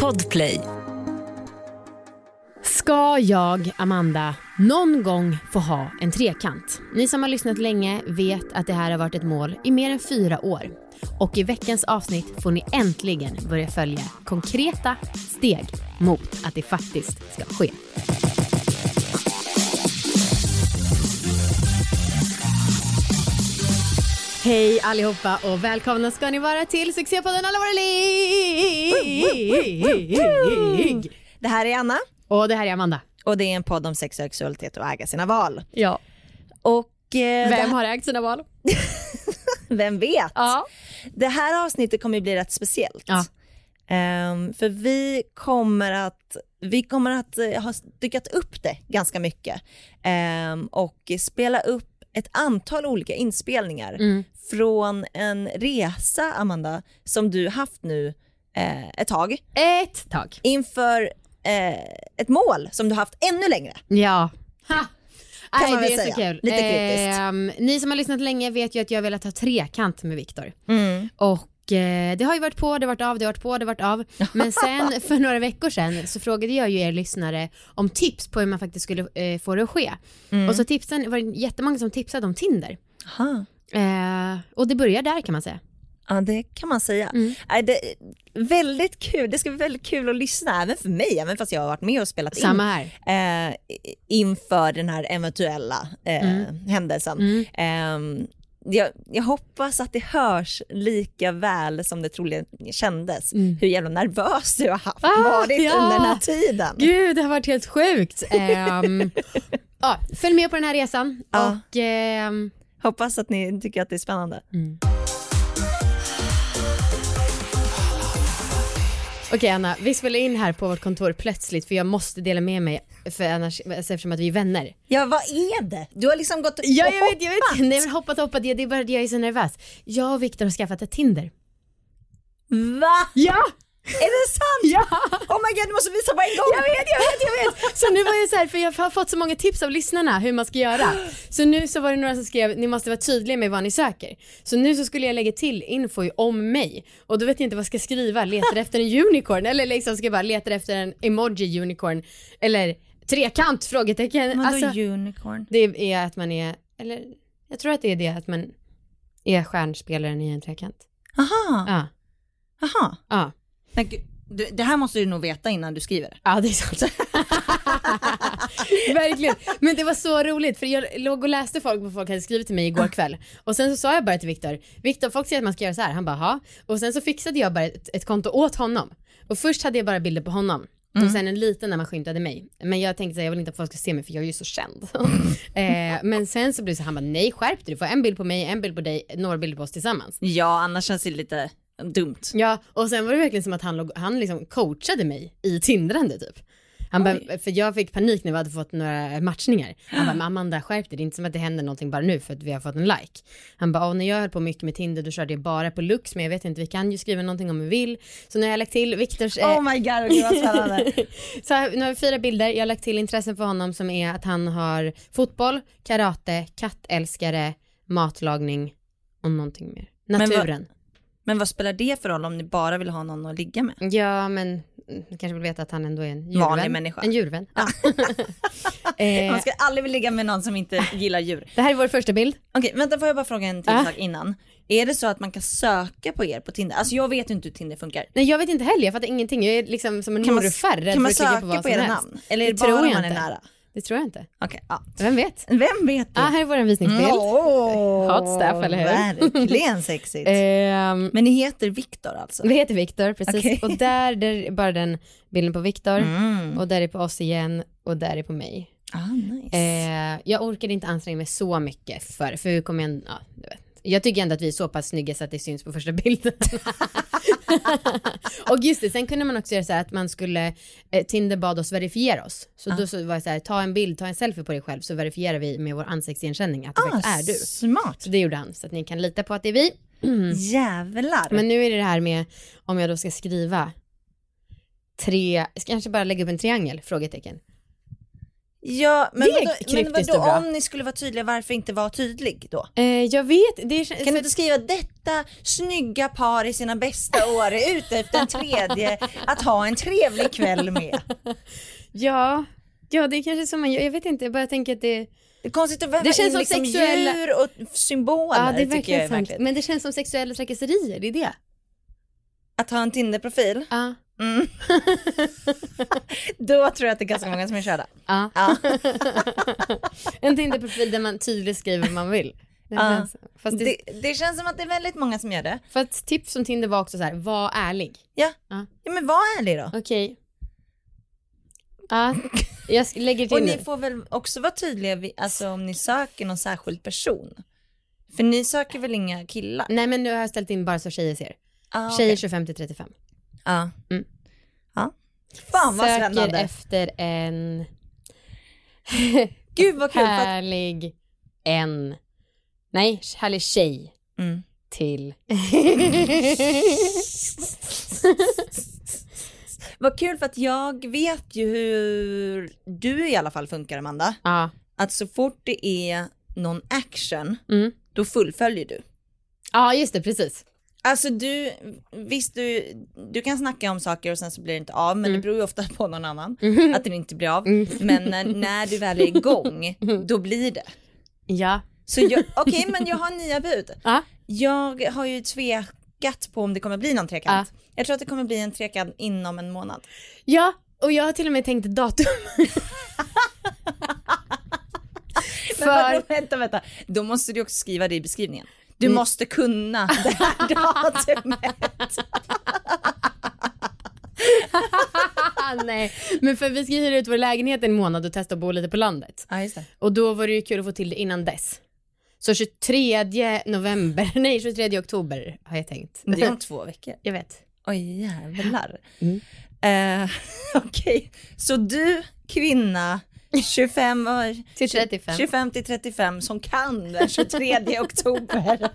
Podplay. Ska jag, Amanda, någon gång få ha en trekant? Ni som har lyssnat länge vet att det här har varit ett mål i mer än fyra år. Och i veckans avsnitt får ni äntligen börja följa konkreta steg mot att det faktiskt ska ske. Hej allihopa och välkomna ska ni vara till succépodden Alla våra ligg! Det här är Anna Och det här är Amanda. och det är en podd om sex och sexualitet och äga sina val. Ja. Och eh, Vem det, har ägt sina val? vem vet? Ja. Det här avsnittet kommer ju bli rätt speciellt. Ja. Ehm, för vi kommer att, vi kommer att eh, ha styckat upp det ganska mycket Ehm, och spela upp ett antal olika inspelningar Mm. från en resa, Amanda, som du haft nu eh, ett tag Ett tag. inför eh, ett mål som du haft ännu längre. Ja. Ha. Kan Nej, man väl det är så säga. kul. Lite kritiskt. Ehm, ni som har lyssnat länge vet ju att jag har velat ha trekant med Viktor. Mm. Och eh, det har ju varit på, det har varit av, det har varit på, det har varit av. Men sen för några veckor sedan så frågade jag ju er lyssnare om tips på hur man faktiskt skulle eh, få det att ske. Och så tipsen, var det jättemånga som tipsade om Tinder. Aha. Eh, och det börjar där kan man säga. Ja, det kan man säga. Mm. Nej, Det, väldigt kul. det ska bli väldigt kul att lyssna, även för mig, även fast jag har varit med och spelat Samma här. in eh, inför den här eventuella eh, händelsen. Mm. Ehm, jag, jag hoppas att det hörs lika väl som det troligen kändes, Mm. hur jävla nervös du har haft, Ah, varit ja. under den här tiden. Gud, det har varit helt sjukt. Ehm, ja, följ med på den här resan. Ja. Och, ehm, Hoppas att ni tycker att det är spännande. Okej Anna, vi spelar in här på vårt kontor plötsligt för jag måste dela med mig för annars, alltså, eftersom att vi är vänner. Ja, vad är det? Du har liksom gått Ja, och jag vet, jag vet. Nej men hoppat, hoppat, ja, det är bara det jag är så nervös. Jag och Viktor har skaffat ett Tinder. Va? Ja! Är det sant? Ja! Oh my god, du måste visa på en gång. Jag vet, jag vet, jag vet! Så nu var jag så här, för jag har fått så många tips av lyssnarna hur man ska göra. Så nu så var det några som skrev, ni måste vara tydliga med vad ni söker. Så nu så skulle jag lägga till info om mig. Och då vet jag inte vad jag ska skriva, letar efter en unicorn eller liksom ska jag bara letar efter en emoji unicorn. Eller trekant? Frågetecken. Men Alltså, då unicorn. det är att man är, eller jag tror att det är det att man är stjärnspelaren i en trekant. Aha, Ja, aha. ja. Men gud, du, det här måste du nog veta innan du skriver det. Ja det är sant. Verkligen. Men det var så roligt för jag låg och läste folk vad folk hade skrivit till mig igår kväll. Och sen så sa jag bara till Viktor, Viktor folk säger att man ska göra så här. Han bara ha. Och sen så fixade jag bara ett, ett konto åt honom. Och först hade jag bara bilder på honom. Och sen en liten när man skymtade mig. Men jag tänkte att jag vill inte att folk ska se mig för jag är ju så känd. eh, men sen så blev det så här, han bara nej skärp dig, du får en bild på mig, en bild på dig, några bilder på oss tillsammans. Ja, annars känns det lite dumt. Ja, och sen var det verkligen som att han, låg, han liksom coachade mig i tindrande typ. Han bara, för jag fick panik när vi hade fått några matchningar. Han bara, "Men Amanda skärp dig, det är inte som att det händer någonting bara nu för att vi har fått en like. Han bara, "Ja, när jag höll på mycket med Tinder då körde jag bara på Lux, men jag vet inte, vi kan ju skriva någonting om vi vill. Så nu har jag lagt till Viktors, eh, Oh my god, gud vad spännande. så här, nu har vi fyra bilder, jag har lagt till intressen för honom som är att han har fotboll, karate, kattälskare, matlagning och någonting mer. vad- Naturen. Men vad spelar det för roll om ni bara vill ha någon att ligga med? Ja, men mm, du kanske vill veta att han ändå är en djurvän. Vanlig människa. En djurvän. Ja. eh, Man ska aldrig vilja ligga med någon som inte gillar djur. det här är vår första bild. Okej, vänta får jag bara fråga en till Ah. sak innan. Är det så att man kan söka på er på Tinder? Alltså jag vet ju inte hur Tinder funkar. Nej, jag vet inte heller, jag fattar ingenting. Jag är liksom som en Kan man, morfar rädd kan man för att söka klicka på på, vad som era helst. namn? Eller är det Det tror bara om jag man är inte. nära? Det tror jag inte. Okej, ja. Vem vet? Vem vet du? Ah, här är vår visningsbild. Mm. Åh, Hot stuff, eller hur? Verkligen sexigt. Ehm, Men ni heter Viktor alltså? vi heter Viktor, precis. Okej. Och där, där är bara den bilden på Viktor. Mm. Och där är på oss igen. Och där är på mig. Ah, nice. Eh, jag orkade inte anstränga mig så mycket för, för vi kom igen, ja, du vet. Jag tycker ändå att vi är så pass snygga så att det syns på första bilden. och just det, sen kunde man också göra så här att man skulle, eh, Tinder bad oss verifiera oss. Så då så var det så här, ta en bild, ta en selfie på dig själv så verifierar vi med vår ansiktsigenkänning att det ah, faktiskt är du. Smart. Så det gjorde han, så att ni kan lita på att det är vi. Jävlar. Mm. Men nu är det det här med om jag då ska skriva tre, ska jag kanske bara lägga upp en triangel? Frågetecken. Ja, men, Det är vadå, men kryptiskt vadå och bra. om ni skulle vara tydliga, varför inte vara tydlig då? Eh, jag vet, det Kan känns... du inte skriva detta snygga par i sina bästa år är ute efter en tredje att ha en trevlig kväll med? Ja, ja det är kanske som man gör. Jag vet inte, jag bara tänker att det... Det är konstigt att väva Det känns in som liksom sexuella- djur och symboler Ja, det är tycker jag verkligen är sant. märkligt. Men det känns som sexuella trakasserier, det är det. Att ha en Tinder-profil, Ja. mm. då tror jag att det är ganska många som är körda. Ja. Ja. en Tinder-profil där man tydligt skriver vad man vill. Det Ja. känns- Fast, det, Det, det känns som att det är väldigt många som gör det. fast tips som Tinder var också så här, var ärlig. Ja, men var ärlig då. Okej. Ja, jag sk- lägger Och till ni nu. får väl också vara tydliga vid, alltså, om ni söker någon särskild person. För ni söker väl inga killar? Nej men nu har jag ställt in bara så tjejer ser. Ah, okej. Tjejer 25 till 35. Ja. Mm. ja. Fan vad Söker spännande. efter en Gud vad kul. För att, härlig en, nej härlig tjej mm. till. Vad kul för att jag vet ju hur du i alla fall funkar Amanda. Ja, Att så fort det är någon action, mm. då fullföljer du. ja just det precis. Alltså du, visst du, du kan snacka om saker och sen så blir det inte av, men Mm. det beror ju ofta på någon annan Mhm. att det inte blir av. Mm. Men när, när du väl är igång, då blir det. Ja, Så jag- okej men jag har nya bud. Ja. Jag har ju tvekat på om det kommer bli någon trekant. Jag tror att det kommer bli en trekant inom en månad. ja och jag har till och med tänkt datum. Men vadå, För, vänta, vänta. Då måste du också skriva det i beskrivningen. Du Mm. måste kunna det här datumet. nej, men för vi ska hyra ut vår lägenhet en månad och testa att bo lite på landet. Ja just det. Och då var det ju kul att få till det innan dess. Så 23 november, nej 23 oktober har jag tänkt. Det är om två veckor. Jag vet. Oj jävlar. Mm. Eh, Okej, så du kvinna 25 år, Till 35. 25 till 35 som kan den 23 oktober.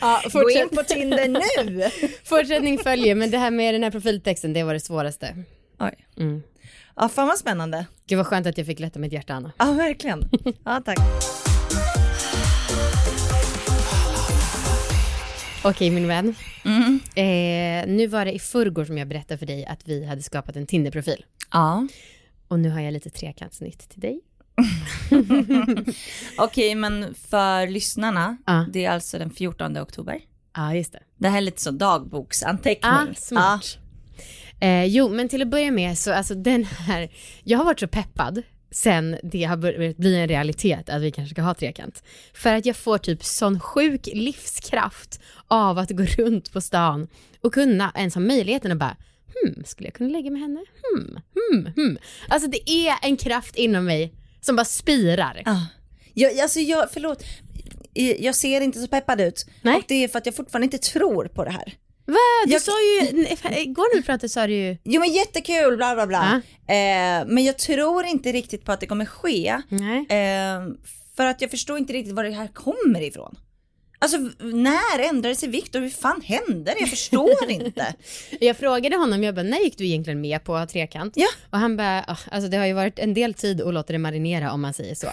Ja, Gå in fortsätt, på Tinder nu. fortsättning följer, men det här med den här profiltexten, det var det svåraste. Oj. Mm. Ja fan vad spännande. Gud vad skönt att jag fick lätta mitt hjärta Anna. Ja, verkligen. Ja, tack. Okej min vän, Mm. eh, nu var det i förrgår som jag berättade för dig att vi hade skapat en Tinder-profil. Ja. Och nu har jag lite trekantsnytt till dig. Okej, men för lyssnarna, Ja. det är alltså den 14 oktober. Ja, just det. Det här är lite så dagboksanteckning. Ah, smart. Eh, jo, men till att börja med så alltså den här, jag har varit så peppad sen det har börjat bli en realitet att vi kanske ska ha trekant. För att jag får typ sån sjuk livskraft av att gå runt på stan och kunna ens ha möjligheten att bara hmm, skulle jag kunna lägga med henne? Hmm, hmm, hmm. Alltså det är en kraft inom mig som bara spirar. Ja. Jag, alltså jag, förlåt, Eh, jag ser inte så peppad ut. Nej. Och det är för att jag fortfarande inte tror på det här. Va? Du Jag- sa ju, igår när vi pratade sa du ju, Jo men jättekul, bla bla bla. Eh, men jag tror inte riktigt på att det kommer ske. nej. Eh, för att jag förstår inte riktigt var det här kommer ifrån. Alltså v- när ändrade sig Viktor? Hur fan hände det? Jag förstår inte. Jag frågade honom, jag bara, när gick du egentligen med på trekant? Ja. Och han bara, "Ah, alltså det har ju varit en del tid att låta det marinera om man säger så.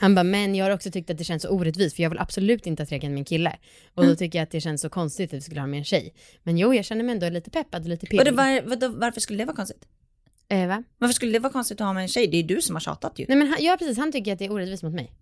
Han bara, men jag har också tyckt att det känns så orättvist för jag vill absolut inte ha trekant med en kille. Och Mm. då tycker jag att det känns så konstigt att vi skulle ha med en tjej. Men jo, jag känner mig ändå lite peppad och lite pirrig. Vadå, var, vadå, varför skulle det vara konstigt? Eh, va? Varför skulle det vara konstigt att ha med en tjej? Det är du som har tjatat ju. Nej men han, ja precis, han tycker att det är orättvist mot mig.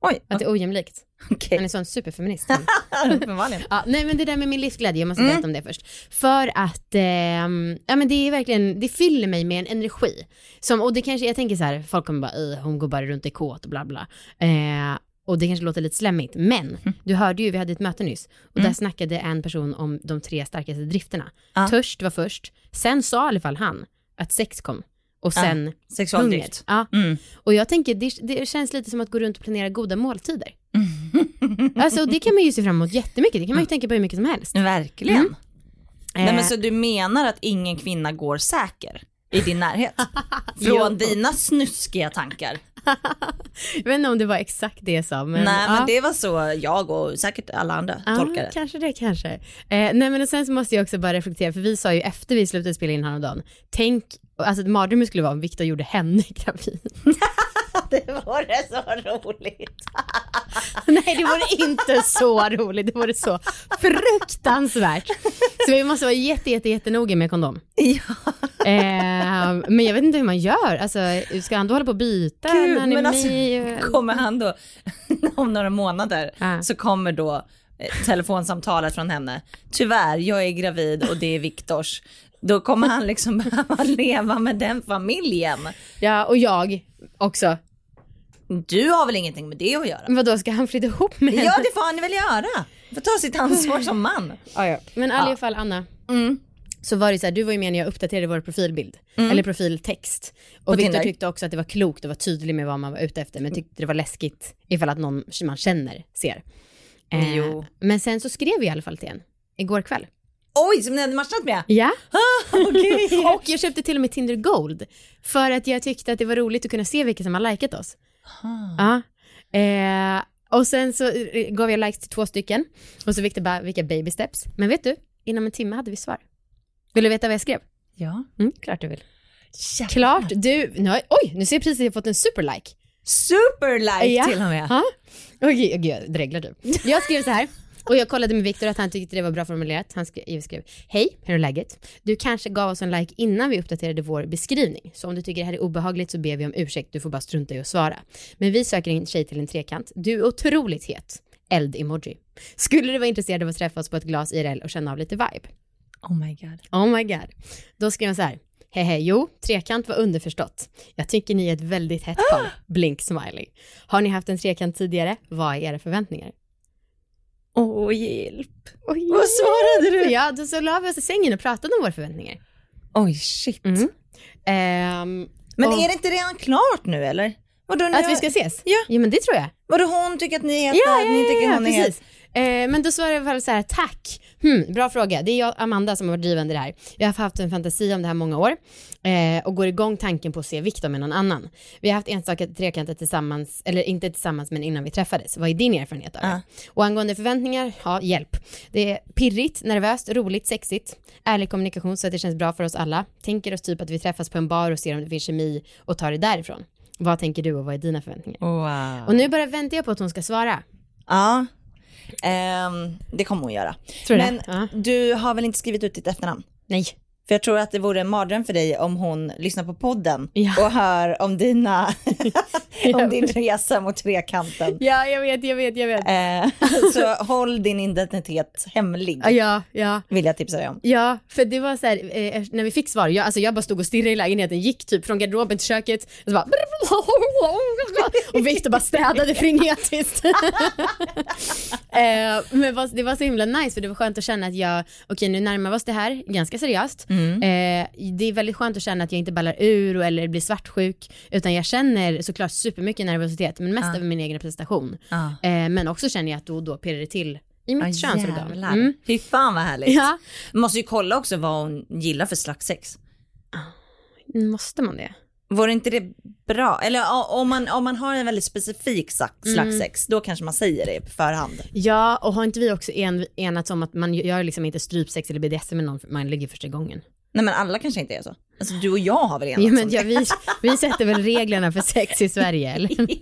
Oj, Att det är ojämlikt. Han okej. är sån superfeminist. han. Uppenbarligen. Ja, nej men det där med min livsglädje, jag måste Mm. berätta om det först. För att, ehm, ja men det är verkligen, det fyller mig med en energi. Som, och det kanske, jag tänker så här, folk kommer bara, "Ih, hon går bara runt i kåt och bla bla. Eh, och det kanske låter lite slemmigt, men Mm. du hörde ju, vi hade ett möte nyss. Och där snackade en person om de tre starkaste drifterna. Ja. Törst var först, sen sa i alla fall han att sex kom. Och Ja. sen hunger. Sexualdrift. Ja. Mm. Och jag tänker, det, det känns lite som att gå runt och planera goda måltider. Mm. Alltså och det kan man ju se fram emot jättemycket, det kan man ju tänka på hur mycket som helst. Verkligen. Mm. Nej, men Eh, så du menar att ingen kvinna går säker i din närhet? Jo. Från dina snuskiga tankar. jag vet inte om det var exakt det jag sa men, Nej men ja. det var så jag och säkert alla andra Ja, tolkade det. kanske det, kanske. Eh, nej men och sen så måste jag också bara reflektera, för vi sa ju efter vi slutade spela in häromdagen, tänk, alltså ett mardröm skulle vara om Viktor gjorde henne gravid. Det vore så roligt. Nej det vore inte så roligt, det vore så fruktansvärt. Så vi måste vara jätte, jätte, jättenoga med kondom. Ja, Eh, men jag vet inte hur man gör, alltså ska han då hålla på och byta Gud, när han är men med? alltså, i- kommer han då om några månader Eh. Ja. så kommer då eh, telefonsamtalet från henne. Tyvärr, jag är gravid och det är Viktors. Då kommer han liksom behöva leva med den familjen. Ja och jag också. Du har väl ingenting med det att göra? Men vadå, ska han flytta ihop med henne? Ja, det får han väl göra. Får ta sitt ansvar som man. Ja, ja. Men i alla fall Anna, Ah, Mm. så var det så här, du var ju med när jag uppdaterade vår profilbild, eller profiltext. På Och Viktor Tinder. tyckte också att det var klokt att vara tydlig med vad man var ute efter, men tyckte det var läskigt ifall att någon man känner ser. Eh, Jo. Men sen så skrev vi i alla fall till en, igår kväll. Oj, som ni hade matchat med? Ja. Okej. Och jag köpte till och med Tinder Gold, för att jag tyckte att det var roligt att kunna se vilka som har likat oss. Ja. Eh, och sen så eh, gav jag likes till två stycken, och så Viktor bara, vilka baby steps. Men vet du, inom en timme hade vi svar. Vill du veta vad jag skrev? Ja. Mm, klart du vill. Klart du, nu har, oj nu ser jag precis att jag fått en superlike. Superlike Ja. till och med. Ja. Oj, oj, jag dreglar du. Jag skrev så här. Och jag kollade med Viktor att han tyckte det var bra formulerat. Han skrev, jag skrev hej, hur är läget? Du kanske gav oss en like innan vi uppdaterade vår beskrivning. Så om du tycker det här är obehagligt så ber vi om ursäkt, du får bara strunta i att svara. Men vi söker en tjej till en trekant. Du är otroligt het. Eld-emoji. Skulle du vara intresserad av att träffa oss på ett glas IRL och känna av lite vibe? Oh my god. Oh my god. Då skrev han så här. Hehe, jo, trekant var underförstått. Jag tycker ni är ett väldigt hett par. Blink smiley. Har ni haft en trekant tidigare? Vad är era förväntningar? Åh, hjälp. Oj, Vad svarade du? Ja, då så la vi oss i sängen och pratade om våra förväntningar. Oj, shit. Mm. Ehm, Men Och- är det inte redan klart nu eller? Vadå, ni att vi har- ska ses? Ja. Jo, men det tror jag. vadå hon tycker att ni är Ja, heta, ja, ni ja, tycker ja, hon är het. precis. Eh, men då svarade jag i alla fall så här, tack. Hmm, bra fråga. Det är jag, Amanda, som har varit drivande i det här. Jag har haft en fantasi om det här många år eh, och går igång tanken på att se Viktor med någon annan. Vi har haft enstaka trekanter tillsammans, eller inte tillsammans, men innan vi träffades. Vad är din erfarenhet av det? Ja. Och angående förväntningar, ja, hjälp. Det är pirrigt, nervöst, roligt, sexigt. Ärlig kommunikation så att det känns bra för oss alla. Tänker oss typ att vi träffas på en bar och ser om det finns kemi och tar det därifrån. Vad tänker du och vad är dina förväntningar? Wow. Och nu bara väntar jag på att hon ska svara. Ja. Ehm, det kommer hon göra. Tror du Men det? Ja. du har väl inte skrivit ut ditt efternamn? Nej. För jag tror att det vore en mardröm för dig om hon lyssnar på podden Ja. och hör om, dina, om din resa mot trekanten. Ja, jag vet, jag vet, jag vet. Eh, så håll din identitet hemlig, Ja, ja. vill jag tipsa dig om. Ja, för det var så här, eh, när vi fick svar, jag, alltså jag bara stod och stirrade i lägenheten, gick typ från garderoben till köket och så bara och Viktor bara städade frenetiskt. eh, men vad- det var så himla nice för det var skönt att känna att jag, okej nu närmar vi oss det här ganska seriöst. Mm. Eh, det är väldigt skönt att känna att jag inte ballar ur och, eller blir svartsjuk utan jag känner såklart supermycket nervositet men mest över min egen prestation. Ja. Eh, men också känner jag att då och då pirrar det till i mitt könsorgan. jävlar. Mm. Fy fan vad härligt. Ja, Måste ju kolla också vad hon gillar för slags sex. måste man det? Vore inte det bra? Eller ja, om man, om man har en väldigt specifik sa- Mm. slags sex, då kanske man säger det på förhand. Ja, och har inte vi också en, enats om att man gör liksom inte strypsex eller BDSM med någon man ligger första gången? Nej men alla kanske inte är så. Alltså du och jag har väl enats Ja, men om ja, vi, vi sätter väl reglerna för sex i Sverige, eller?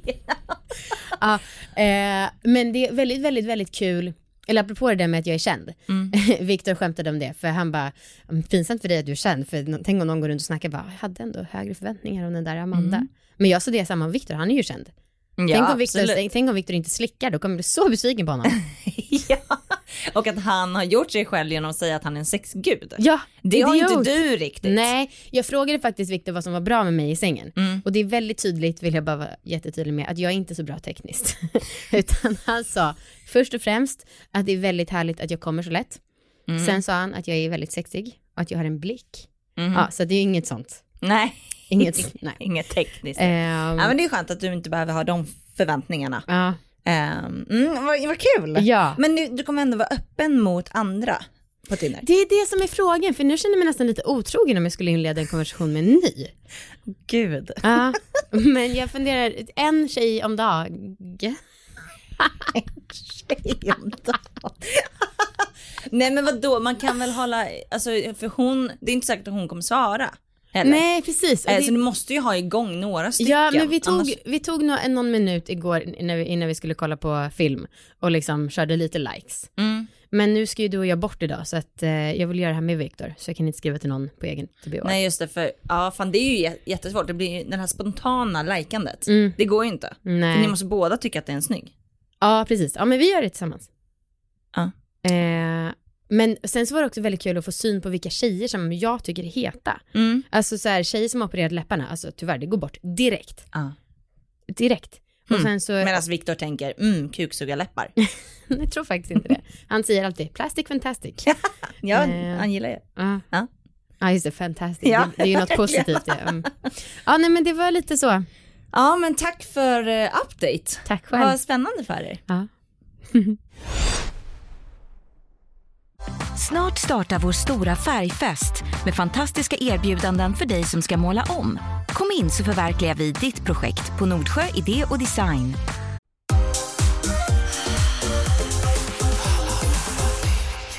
ja, eh, men det är väldigt, väldigt, väldigt kul. Eller apropå det där med att jag är känd. Viktor skämtade om det, för han bara, "Mm, pinsamt för dig att du är känd, för nå- tänk om någon går runt och snackar bara, jag hade ändå högre förväntningar om den där Amanda. Men jag sa det samma om Viktor, han är ju känd. det. tänk, Ja, om Victor, absolut. tänk, tänk om Viktor inte slickar, då kommer jag bli så besviken på honom. ja. Och att han har gjort sig själv genom att säga att han är en sexgud. ja, det har ju idiot. inte du riktigt. Nej, jag frågade faktiskt Viktor vad som var bra med mig i sängen. Mm. Och det är väldigt tydligt, vill jag bara vara jättetydlig med, att jag är inte så bra tekniskt. Utan han sa först och främst att det är väldigt härligt att jag kommer så lätt. Mm. Sen sa han att jag är väldigt sexig och att jag har en blick. Mhm. Ja, så det är ju inget sånt. Nej, Inget, nej. inget tekniskt. Ehm, Ja, men det är skönt att du inte behöver ha de förväntningarna. ja, Ehm, mm, vad, vad kul! ja. Men du, du kommer ändå vara öppen mot andra. på Tinder? Det är det som är frågan, för nu känner jag mig nästan lite otrogen om jag skulle inleda en konversation med en ny. Gud. Ja, men jag funderar, en tjej om dagen. Nej men vadå, man kan väl hålla, alltså för hon, det är inte säkert att hon kommer svara. Heller. Nej, precis. Och Eh, det- Så du måste ju ha igång några stycken. Ja, men vi tog, annars- vi tog nå- en- någon minut igår innan vi, innan vi skulle kolla på film och liksom körde lite likes. Mm. Men nu ska ju du och jag bort idag så att eh, jag vill göra det här med Viktor så jag kan inte skriva till någon på egen till BH. Nej just det, för ja, fan, det är ju jä- jättesvårt. Det blir ju den här spontana likandet. Mm. Det går ju inte. För Nej. ni måste båda tycka att det är en snygg. Ja, precis. Ja, men vi gör det tillsammans. Ja. Eh, men sen så var det också väldigt kul att få syn på vilka tjejer som jag tycker är heta. Mm. Alltså så här, tjejer som har opererat läpparna, alltså tyvärr det går bort direkt. Ja. Direkt. Och Mm. sen så, Medan Viktor tänker, mm, kuksugarläppar. jag tror faktiskt inte det. Han säger alltid plastic fantastic. Ja, Eh. han gillar ju. Ja. Ja. Ja, just det, fantastiskt. Ja, Det, det är ju något positivt. Ja. Mm. ja, nej men det var lite så. Ja, men tack för eh, update. Tack själv. Vad spännande för er. Ja. Snart startar vår stora färgfest med fantastiska erbjudanden för dig som ska måla om. Kom in så förverkligar vi ditt projekt på Nordsjö Idé och Design.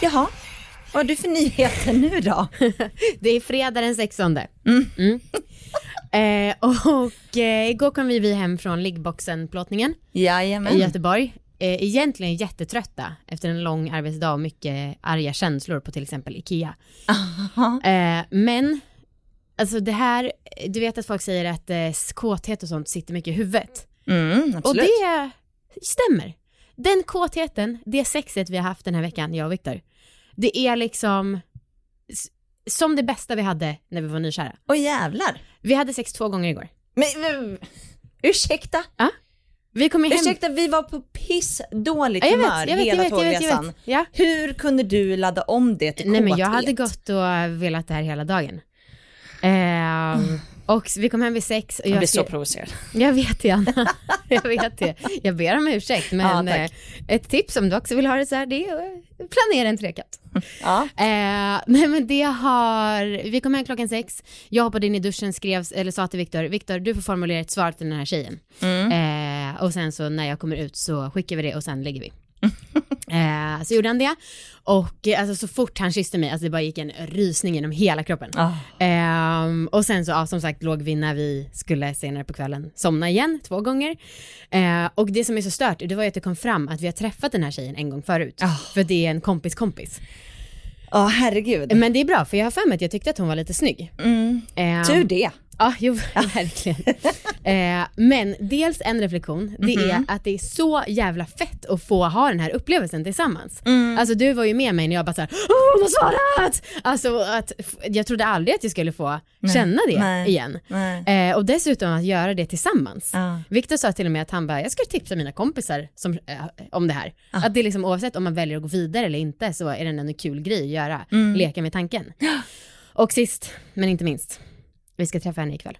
Jaha, vad har du för nyheter nu då? Det är fredag den 16. Mm. Eh, och eh, igår kom vi vi hem från liggboxen-plåtningen i Jajamän. Göteborg. Eh, egentligen jättetrötta efter en lång arbetsdag och mycket arga känslor på till exempel Ikea. Jaha. Eh, men, alltså det här, du vet att folk säger att eh, kåthet och sånt sitter mycket i huvudet. Mm, Och absolut. det stämmer. Den kåtheten, det sexet vi har haft den här veckan, jag och Viktor, det är liksom s- som det bästa vi hade när vi var nykära. Åh jävlar. Vi hade sex två gånger igår. Men, men ursäkta, Vi kom ju hem... ursäkta, vi var på pissdåligt Ja, jag humör vet, jag vet, jag hela vet, jag vet, jag tågresan. vet. Ja. Hur kunde du ladda om det till Nej men jag kåthet? hade gått och velat det här hela dagen. Ehm, och vi kom hem vid sex och Jag jag, blir så skrev- provocerad. jag vet det Anna. jag vet det. Jag ber om ursäkt men Ja, tack. eh, ett tips om du också vill ha det så här det är att planera en trekant. Ja. Eh, nej men det har, vi kom hem klockan sex, jag hoppade in i duschen, skrev, eller sa till Viktor, Viktor du får formulera ett svar till den här tjejen. Eh, och sen så när jag kommer ut så skickar vi det och sen lägger vi. eh, så gjorde han det. Och eh, alltså, så fort han kysste mig, alltså det bara gick en rysning genom hela kroppen. Ah. Ehm, och sen så, ja, som sagt, låg vi när vi skulle senare på kvällen somna igen två gånger. Eh, och det som är så stört, det var ju att det kom fram att vi har träffat den här tjejen en gång förut. Ah. För det är en kompis kompis. Ja, herregud. Men det är bra, för jag har för mig att jag tyckte att hon var lite snygg. Mm. Ehm, Tur det. Ja, jo, verkligen. Eh, men dels en reflektion, det Mhm. är att det är så jävla fett att få ha den här upplevelsen tillsammans. Mm. Alltså du var ju med mig när jag bara såhär, åh hon har svarat! Alltså att, f- jag trodde aldrig att jag skulle få känna det Nej. igen. Nej. Eh, och dessutom att göra det tillsammans. Ja. Viktor sa till och med att han bara, jag ska tipsa mina kompisar som, eh, om det här. Att det är liksom oavsett om man väljer att gå vidare eller inte så är det en kul grej att göra, leka med tanken. Och sist men inte minst, vi ska träffa henne ikväll.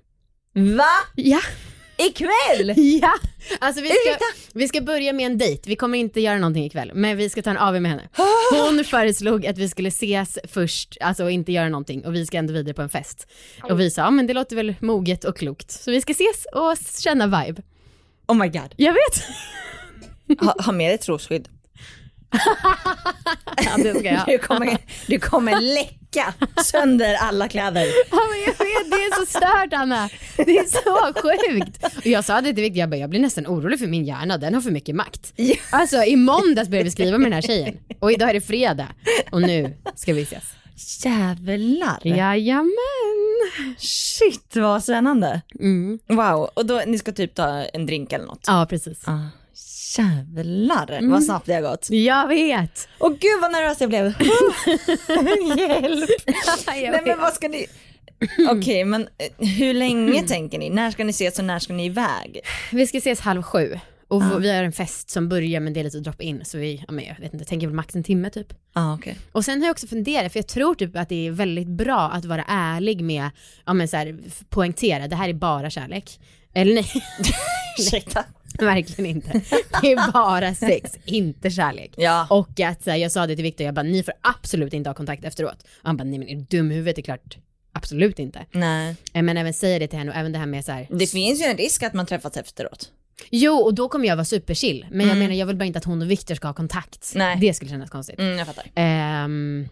Va? Ja, Ikväll? ja. Alltså vi ska, Ursäkta? vi ska börja med en dejt, vi kommer inte göra någonting ikväll, men vi ska ta en AV med henne. Hon föreslog att vi skulle ses först, alltså och inte göra någonting och vi ska ändå vidare på en fest. Och vi sa, ja men det låter väl moget och klokt. Så vi ska ses och känna vibe. Oh my god. Jag vet. Ha, ha med dig trosskydd. Ja, det ska jag. Du kommer, du kommer läcka sönder alla kläder. Ja, men jag vet, det är så stört Anna. Det är så sjukt. Och jag sa det till Viktor, jag, bara, jag blir nästan orolig för min hjärna, den har för mycket makt. Ja. Alltså i måndags började vi skriva med den här tjejen och idag är det fredag och nu ska vi ses. Jävlar. Jajamän. Shit vad spännande. Mm. Wow, och då ni ska typ ta en drink eller något? Ja, precis. Ah, jävlar Mm. vad snabbt det har gått. Jag vet. Och gud vad nervös jag blev. Hjälp. Jag Nej men vet. vad ska ni... Okej men eh, hur länge tänker ni? När ska ni ses och när ska ni iväg? Vi ska ses halv sju och vi har en fest som börjar men det är lite drop-in så vi, ja, men jag vet inte, tänker väl max en timme typ. Ja ah, okej. Och sen har jag också funderat, för jag tror typ att det är väldigt bra att vara ärlig med, ja men så här, f- poängtera, det här är bara kärlek. Eller nej, Ursäkta. Verkligen inte. Det är bara sex, inte kärlek. Ja. Och att så här, jag sa det till Viktor, jag bara ni får absolut inte ha kontakt efteråt. Och han bara nej men är du dum i huvudet, det är klart absolut inte. Nej. Eh, Men även säga det till henne och även det här med så här, Det finns ju en risk att man träffas efteråt. jo och då kommer jag vara superchill. Men jag menar jag vill bara inte att hon och Viktor ska ha kontakt. Mm. Nej. Det skulle kännas konstigt. Mm, jag fattar. Ehm,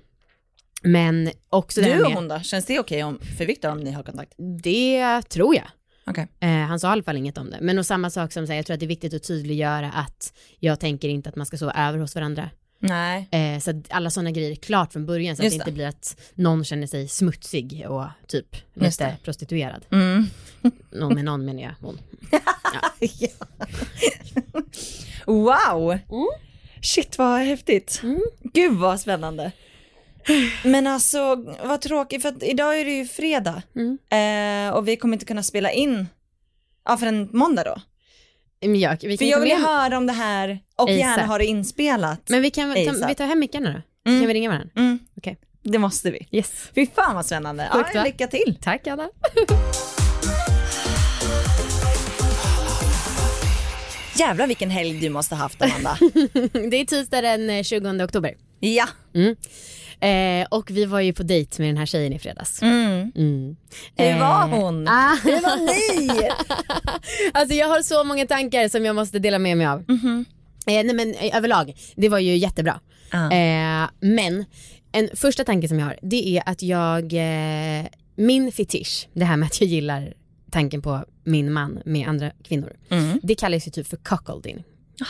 men också det här Du och med, hon då, känns det okej om för Viktor om ni har kontakt? det tror jag. Okej. Eh, han sa i alla fall inget om det. Men och samma sak som säger, jag tror att det är viktigt att tydliggöra att jag tänker inte att man ska sova över hos varandra. Nej. Eh, så att alla sådana grejer är klart från början så att Just det inte det. blir att någon känner sig smutsig och typ Just lite prostituerad. Mm. Någon med någon menar jag, hon. Wow! Mm. Shit vad häftigt. Gud vad spännande. Men alltså vad tråkigt för att idag är det ju fredag Mm. eh, och vi kommer inte kunna spela in ja, förrän måndag då. Men jag, vi För kan jag ta vill ju med, höra om det här och ASAP. gärna ha det inspelat. men vi kan väl ta, ASAP. vi tar hem mickarna då? Så Mm. kan vi ringa varandra? Mm. Okej. Det måste vi. Yes. Fy fan vad spännande. Sjukt, ja, va? lycka till. Tack Anna. Jävlar vilken helg du måste ha haft Amanda. Det är tisdag den eh, 20 oktober. ja. Mm. Eh, och vi var ju på dejt med den här tjejen i fredags. Mm. Mm. Hur var Eh, hon? Ah. Hur var ni? Alltså jag har så många tankar som jag måste dela med mig av. Mhm. Eh, nej men eh, överlag, det var ju jättebra. Ja. Eh, men en första tanke som jag har det är att jag, eh, min fetisch, det här med att jag gillar tanken på min man med andra kvinnor. Mm. Det kallas ju typ för cuckolding.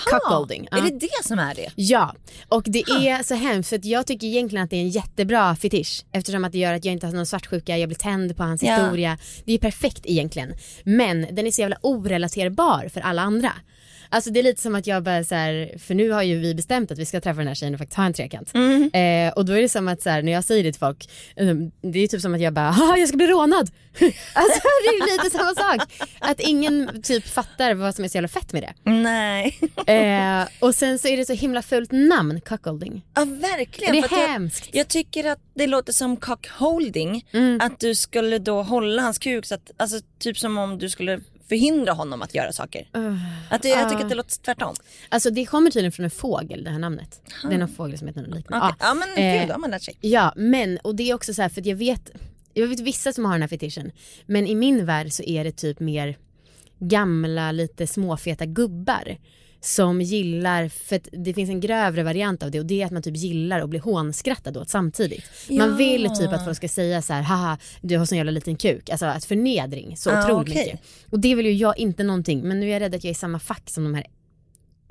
Cuckolding. Är ja. det det som är det? Ja, och det är så hemskt för att jag tycker egentligen att det är en jättebra fetisch eftersom att det gör att jag inte har någon svartsjuka, jag blir tänd på hans Ja. historia. Det är perfekt egentligen. Men den är så jävla orelaterbar för alla andra. Alltså det är lite som att jag bara så här, för nu har ju vi bestämt att vi ska träffa den här tjejen och faktiskt ha en trekant. Mm. Eh, och då är det som att så här, när jag säger det till folk, eh, det är typ som att jag bara, "Haha, jag ska bli rånad. alltså det är ju lite samma sak. Att ingen typ fattar vad som är så jävla fett med det. Nej. Eh, och sen så är det så himla fult namn, cuckolding. Ja verkligen. Det är för att hemskt. Jag, jag tycker att det låter som cockholding. Mm. Att du skulle då hålla hans kuk så att, alltså, typ som om du skulle förhindra honom att göra saker. Att det, jag tycker Ah. att det låter tvärtom. Alltså det kommer tydligen från en fågel det här namnet. Det är någon fågel som heter något liknande. Okej. Ja. Ja men eh, gud, då har man lärt sig. ja men och det är också så här för att jag vet, jag vet vissa som har den här fetischen. Men i min värld så är det typ mer gamla lite småfeta gubbar. Som gillar, för att det finns en grövre variant av det och det är att man typ gillar att bli hånskrattad åt samtidigt. Man Ja. vill typ att folk ska säga så här, haha du har sån jävla liten kuk. Alltså att förnedring så Ah, otroligt okej. mycket. Och det vill ju jag inte någonting men nu är jag rädd att jag är i samma fack som de här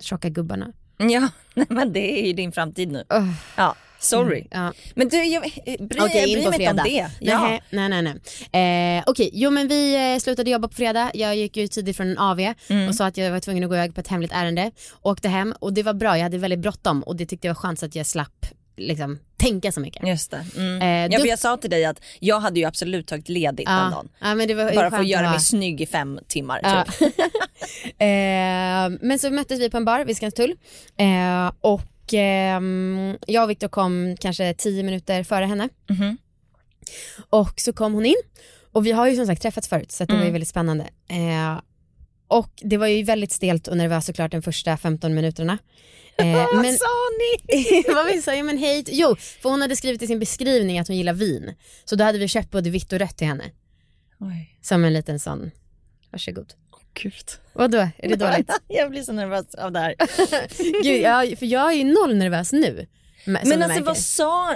tjocka gubbarna. Mm. Ja, nej, men det är ju din framtid nu. Ugh. Ja, sorry. Ja. Men du, jag, bry, Mm. Okej, jag in på bryr mig inte fredag. om det. Ja. Nej, nej, nej. nej. Eh, Okej, jo men vi eh, slutade jobba på fredag. Jag gick ju tidigt från en AV Mm. och sa att jag var tvungen att gå iväg på ett hemligt ärende. Åkte hem och det var bra, jag hade väldigt bråttom och det tyckte jag var skönt så att jag slapp liksom, tänka så mycket. Just det. Mm. Eh, ja, du- för jag sa till dig att jag hade ju absolut tagit ledigt den Ja, dagen. ja, men det var Ah. Bara skönt för att göra ha- mig snygg i fem timmar. Ja. Typ. eh, men så möttes vi på en bar vid Skanstull eh, och ehm, jag och Viktor kom kanske tio minuter före henne Mhm. och så kom hon in och vi har ju som sagt träffats förut så att det var ju Mm. väldigt spännande. Eh, och det var ju väldigt stelt och nervöst såklart de första 15 minuterna. Eh, Vad men sa ni? vad vi sa, ja men hej, jo för hon hade skrivit i sin beskrivning att hon gillar vin. Så då hade vi köpt både vitt och rött till henne. Oj, Som en liten sån, varsågod. gud. Vadå, är det dåligt? jag blir så nervös av det här. Gud, jag, för jag är ju noll nervös nu. Men Men alltså, alltså vad sa...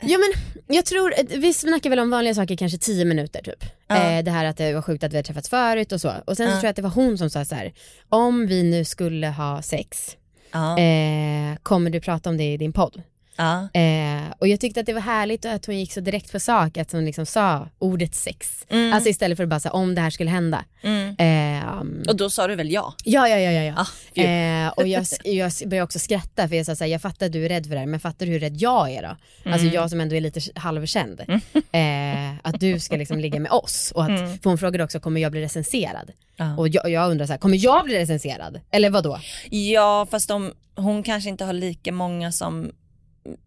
Ja men jag tror, eh, vi snackar väl om vanliga saker kanske 10 minuter typ. Ja. Eh, det här att det var sjukt att vi har träffats förut och så. Och sen så Ja. tror jag att det var hon som sa så här, om vi nu skulle ha sex, Ja, eh, kommer du prata om det i din podd? ja. Eh, och jag tyckte att det var härligt att hon gick så direkt på sak, att hon liksom sa ordet sex. Alltså istället för att bara säga om det här skulle hända. Mm. Ehm, Och då sa du väl ja? Ja, ja, ja, ja. ja. Ah, fy. eh, och jag, jag började också skratta för jag sa såhär, jag fattar att du är rädd för det här, men fattar du hur rädd jag är då? Alltså jag som ändå är lite halvkänd. Eh, att du ska liksom ligga med oss. Och att, För hon frågade också, kommer jag bli recenserad? Ja. Och jag, jag undrar såhär, kommer jag bli recenserad? Eller vad då? Ja, fast de, hon kanske inte har lika många som,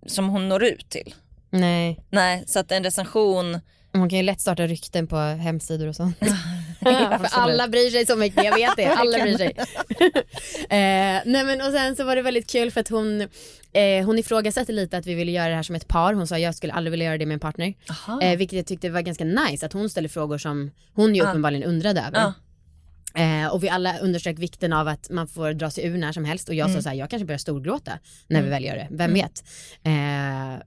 som hon når ut till. Nej. Nej, så att en recension... Hon kan ju lätt starta rykten på hemsidor och sånt. För alla bryr sig så mycket, jag vet det. Alla bryr sig. eh, nej men och sen så var det väldigt kul för att hon, eh, hon ifrågasatte lite att vi ville göra det här som ett par. Hon sa jag skulle aldrig vilja göra det med en partner. Aha. Eh, vilket jag tyckte var ganska nice att hon ställer frågor som hon ju Ja. uppenbarligen undrade över. Ja. Eh, och vi alla underströk vikten av att man får dra sig ur när som helst och jag Mm. sa så här, jag kanske börjar storgråta när vi väl gör det, vem vet. Eh,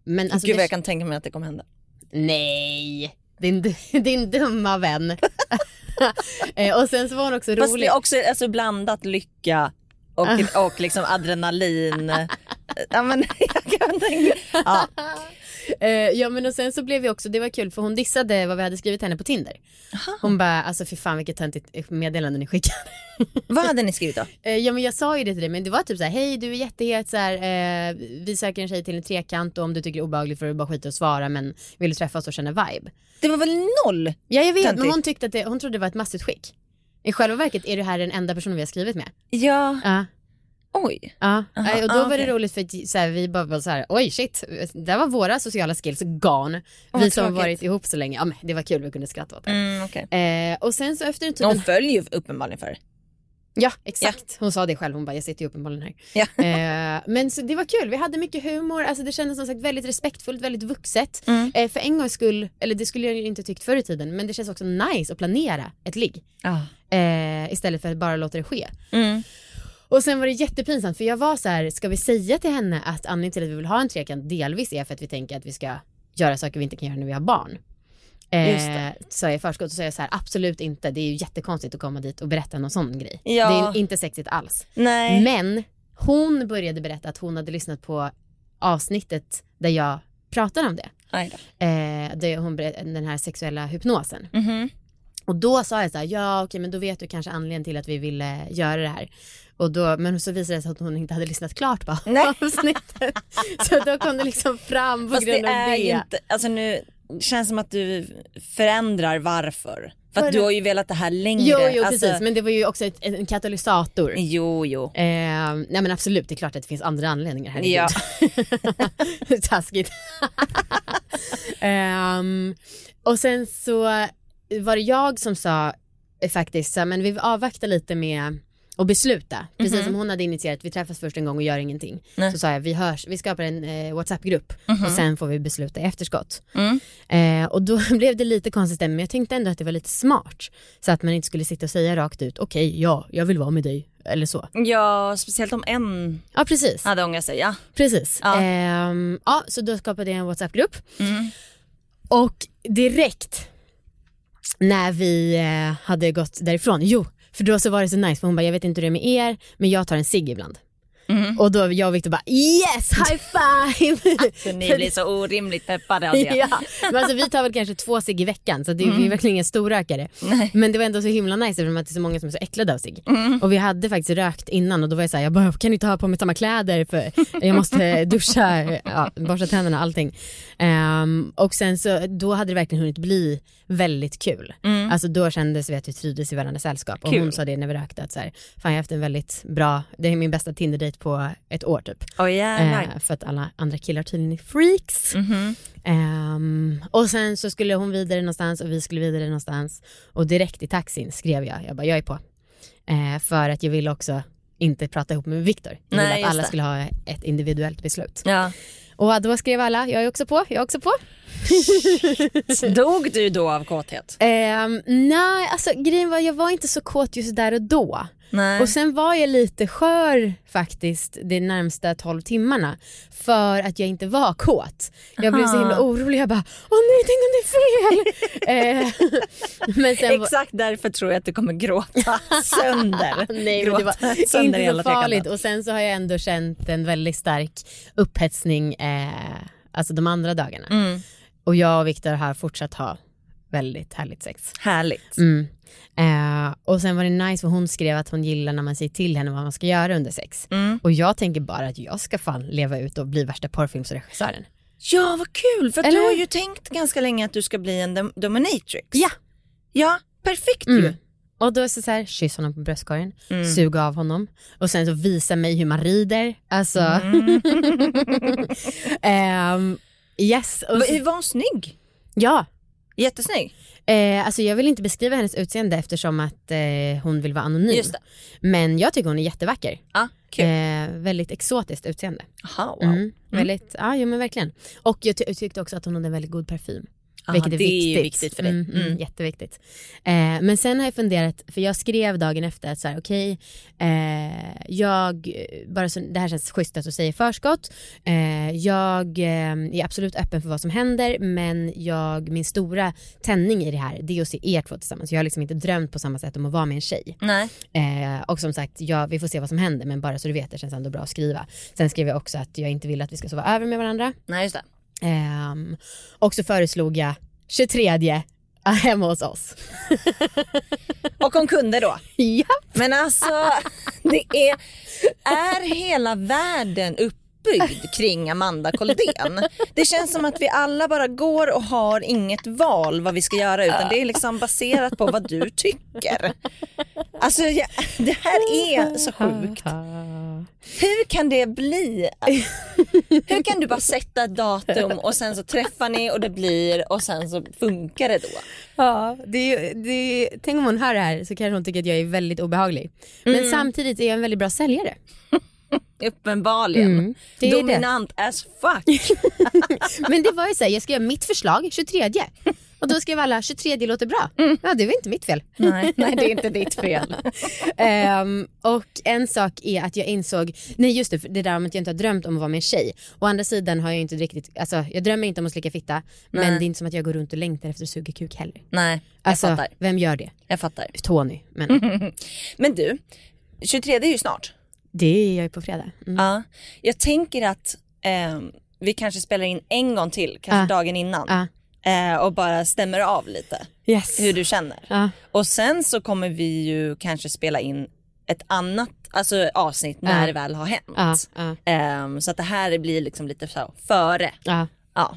men alltså, Gud det- vad jag kan tänka mig att det kommer hända. nej, din, din dumma vän. eh, och sen så var hon också Fast det rolig. är också alltså, blandat lycka och, och liksom adrenalin. ja, men, jag kan tänka. Ja. Eh, ja men och sen så blev vi också, det var kul för hon dissade vad vi hade skrivit henne på Tinder. Hon bara, alltså fy fan vilket töntigt meddelande ni skickade. Vad hade ni skrivit då? Eh, Ja men jag sa ju det till dig men det var typ så här: hej du är jättehet så här, eh, vi söker en tjej till en trekant och om du tycker det är obehagligt får du bara skita och svara men vill du träffas och känna vibe. Det var väl noll? Ja jag vet men Töntigt. hon tyckte att det, hon trodde det var ett massutskick. I själva verket är du här den enda personen vi har skrivit med. Ja, Ja. oj. Ja, Aha, Nej, och då ah, var det okej. roligt för att så här, vi bara var så här, oj shit, där var våra sociala skills gone. vad vi som tråkigt. varit ihop så länge, ja men det var kul, vi kunde skratta åt det. Mm, okay. Eh, och sen så efter en typ Hon en följer ju uppenbarligen för det. Ja, exakt. Hon sa det själv. Hon bara, jag sitter ju uppenbarligen här. Ja. Eh, men så det var kul. Vi hade mycket humor. Alltså det kändes som sagt väldigt respektfullt, väldigt vuxet. Mm. Eh, för en gångs skull, eller det skulle jag ju inte tyckt förr i tiden, men det känns också nice att planera ett ligg. Eh, istället för att bara låta det ske. Mm. Och sen var det jättepinsamt för jag var så här, ska vi säga till henne att anledningen till att vi vill ha en trekant delvis är för att vi tänker att vi ska göra saker vi inte kan göra när vi har barn. Just Eh, det. sa jag i förskott och så sa jag så här, absolut inte, det är ju jättekonstigt att komma dit och berätta någon sån grej. Ja. Det är inte sexigt alls. Nej. Men hon började berätta att hon hade lyssnat på avsnittet där jag pratade om det. Aj då. Eh, där hon berätt, den här sexuella hypnosen. Mhm. Och då sa jag så här, ja okej men då vet du kanske anledningen till att vi ville göra det här. Och då, men så visade det sig att hon inte hade lyssnat klart på Nej. avsnittet. Så då kom det liksom fram på Fast det grund av är det. ju inte, alltså nu det känns som att du förändrar varför. För Vadå? att du har ju velat det här längre. Jo, jo alltså, precis, men det var ju också ett, en katalysator. Jo, jo. Eh, nej men absolut, det är klart att det finns andra anledningar. Herregud. Ja. Taskigt. Ehm, och sen så var det jag som sa eh, faktiskt, så, här, men vi avvaktar lite med att besluta. Precis som hon hade initierat, vi träffas först en gång och gör ingenting. Mhm. Nej. Mhm. Så sa jag, vi, hörs, vi skapar en eh, WhatsApp-grupp och sen får vi besluta i efterskott. Mm. Eh, och då blev det lite konstigt men jag tänkte ändå att det var lite smart. Så att man inte skulle sitta och säga rakt ut, okej ja, jag vill vara med dig. Eller så. Ja, speciellt om en Ja precis. hade ångrat sig. Ja. Precis. Ja. Mm. Ehm, ja, så då skapade jag en WhatsApp-grupp. Och direkt när vi eh, hade gått därifrån, jo, för då så var det så nice för hon bara, jag vet inte hur det är med er, men jag tar en cigg ibland. Mm. Och då jag och Victor bara, yes, high five! Så ni blir så orimligt peppade av det. Mm. ja, men alltså vi tar väl kanske två cigg i veckan så det, vi är verkligen inga storrökare. Nej. Men det var ändå så himla nice eftersom att det är så många som är så äcklade av cigg. Och vi hade faktiskt rökt innan och då var jag såhär, jag bara, kan inte ha på mig samma kläder för jag måste duscha, ja, borsta tänderna allting. Ehm, och sen så, då hade det verkligen hunnit bli väldigt kul. Alltså då kändes vi att vi trivdes i varandras sällskap. Och hon Mm. Kul. sa det när vi rökte att så här, fan jag har haft en väldigt bra, det är min bästa Tinder-dejt på ett år typ. Åh jävlar. Eh, för att alla andra killar tydligen är freaks. Mhm. Ehm, och sen så skulle hon vidare någonstans och vi skulle vidare någonstans. Och direkt i taxin skrev jag, jag bara jag är på. Eh, för att jag ville också inte prata ihop med Viktor. Jag Nej, ville att just alla det. skulle ha ett individuellt beslut. Ja. Och då skrev alla, jag är också på, jag är också på. Dog du då av kåthet? Ehm, nej, alltså grejen var jag var inte så kåt just där och då. Nej. Och sen var jag lite skör faktiskt de närmsta 12 timmarna för att jag inte var kåt. Jag blev så Aha. himla orolig, jag bara åh nej tänk om det är fel. eh, men sen var, Exakt Ah, därför tror jag att du kommer gråta sönder. nej, men det Gråta var sönder inte så hela farligt trekanten. och sen så har jag ändå känt en väldigt stark upphetsning eh, alltså de andra dagarna. Mm. Och jag och Viktor har fortsatt ha väldigt härligt sex. Härligt. Mm. Eh, och sen var det nice för hon skrev att hon gillar när man säger till henne vad man ska göra under sex. Mm. Och jag tänker bara att jag ska fan leva ut och bli värsta porrfilmsregissören. Ja, vad kul. För Eller du har hur? ju tänkt ganska länge att du ska bli en dom- dominatrix. Ja. Ja, perfekt Mm. ju. Och då är det så här, kyss honom på bröstkorgen, Mm. suga av honom och sen så visa mig hur man rider. Alltså, Mm. ehm, yes. Och Va- så, Var hon snygg? ja, Jättesnygg. Eh, alltså jag vill inte beskriva hennes utseende eftersom att eh, hon vill vara anonym. Just det. Men jag tycker hon är jättevacker. Ja, kul. Eh, väldigt exotiskt utseende. Aha, wow. Mm. Väldigt, ja jo, men verkligen. Och jag ty- tyckte också att hon hade en väldigt god parfym. Aha, vilket är det viktigt. är ju viktigt för dig. Mm, mm, Mm. jätteviktigt. Eh, men sen har jag funderat, för jag skrev dagen efter att så här, okej, eh, jag, bara så, det här känns schysst att du säger i förskott. Eh, jag eh, är absolut öppen för vad som händer men jag, min stora tändning i det här det är att se er två tillsammans. Jag har liksom inte drömt på samma sätt om att vara med en tjej. Nej. Eh, och som sagt, ja, vi får se vad som händer men bara så du vet, det känns ändå bra att skriva. Sen skrev jag också att jag inte vill att vi ska sova över med varandra. Nej, just det. Ehm, och så föreslog jag 23 hemma hos oss. Och om kunder då. ja. Men alltså, det är, är hela världen uppbyggd kring Amanda Koldén? Det känns som att vi alla bara går och har inget val vad vi ska göra utan det är liksom baserat på vad du tycker. Alltså jag, det här är så sjukt. Hur kan det bli? Hur kan du bara sätta ett datum och sen så träffar ni och det blir och sen så funkar det då? Ja, det är, ju- det är, tänk om hon hör det här så kanske hon tycker att jag är väldigt obehaglig. Mm. Men samtidigt är jag en väldigt bra säljare. Uppenbarligen. Mm, det är det. Dominant as fuck. Men det var ju såhär, jag skrev mitt förslag 23 och då skrev alla 23 låter bra. Mm. Ja det var inte mitt fel. Nej, nej det är inte ditt fel. Ehm, och en sak är att jag insåg, nej just det, för det där om att jag inte har drömt om att vara med en tjej. Å andra sidan har jag ju inte riktigt, alltså jag drömmer inte om att slicka fitta, Nej. men det är inte som att jag går runt och längtar efter att suga kuk heller. Nej, jag Alltså fattar. vem gör det? Jag fattar. Tony, men Men du, 23 är ju snart. det är jag ju på fredag. Mm. Ja. Jag tänker att ehm, vi kanske spelar in en gång till, kanske dagen innan. Ja. Eh, och bara stämmer av lite Yes. hur du känner. Ja. Och sen så kommer vi ju kanske spela in ett annat alltså, avsnitt när Ja. det väl har hänt. Ja, ja, Ehm, så att det här blir liksom lite så före. ja. Ja.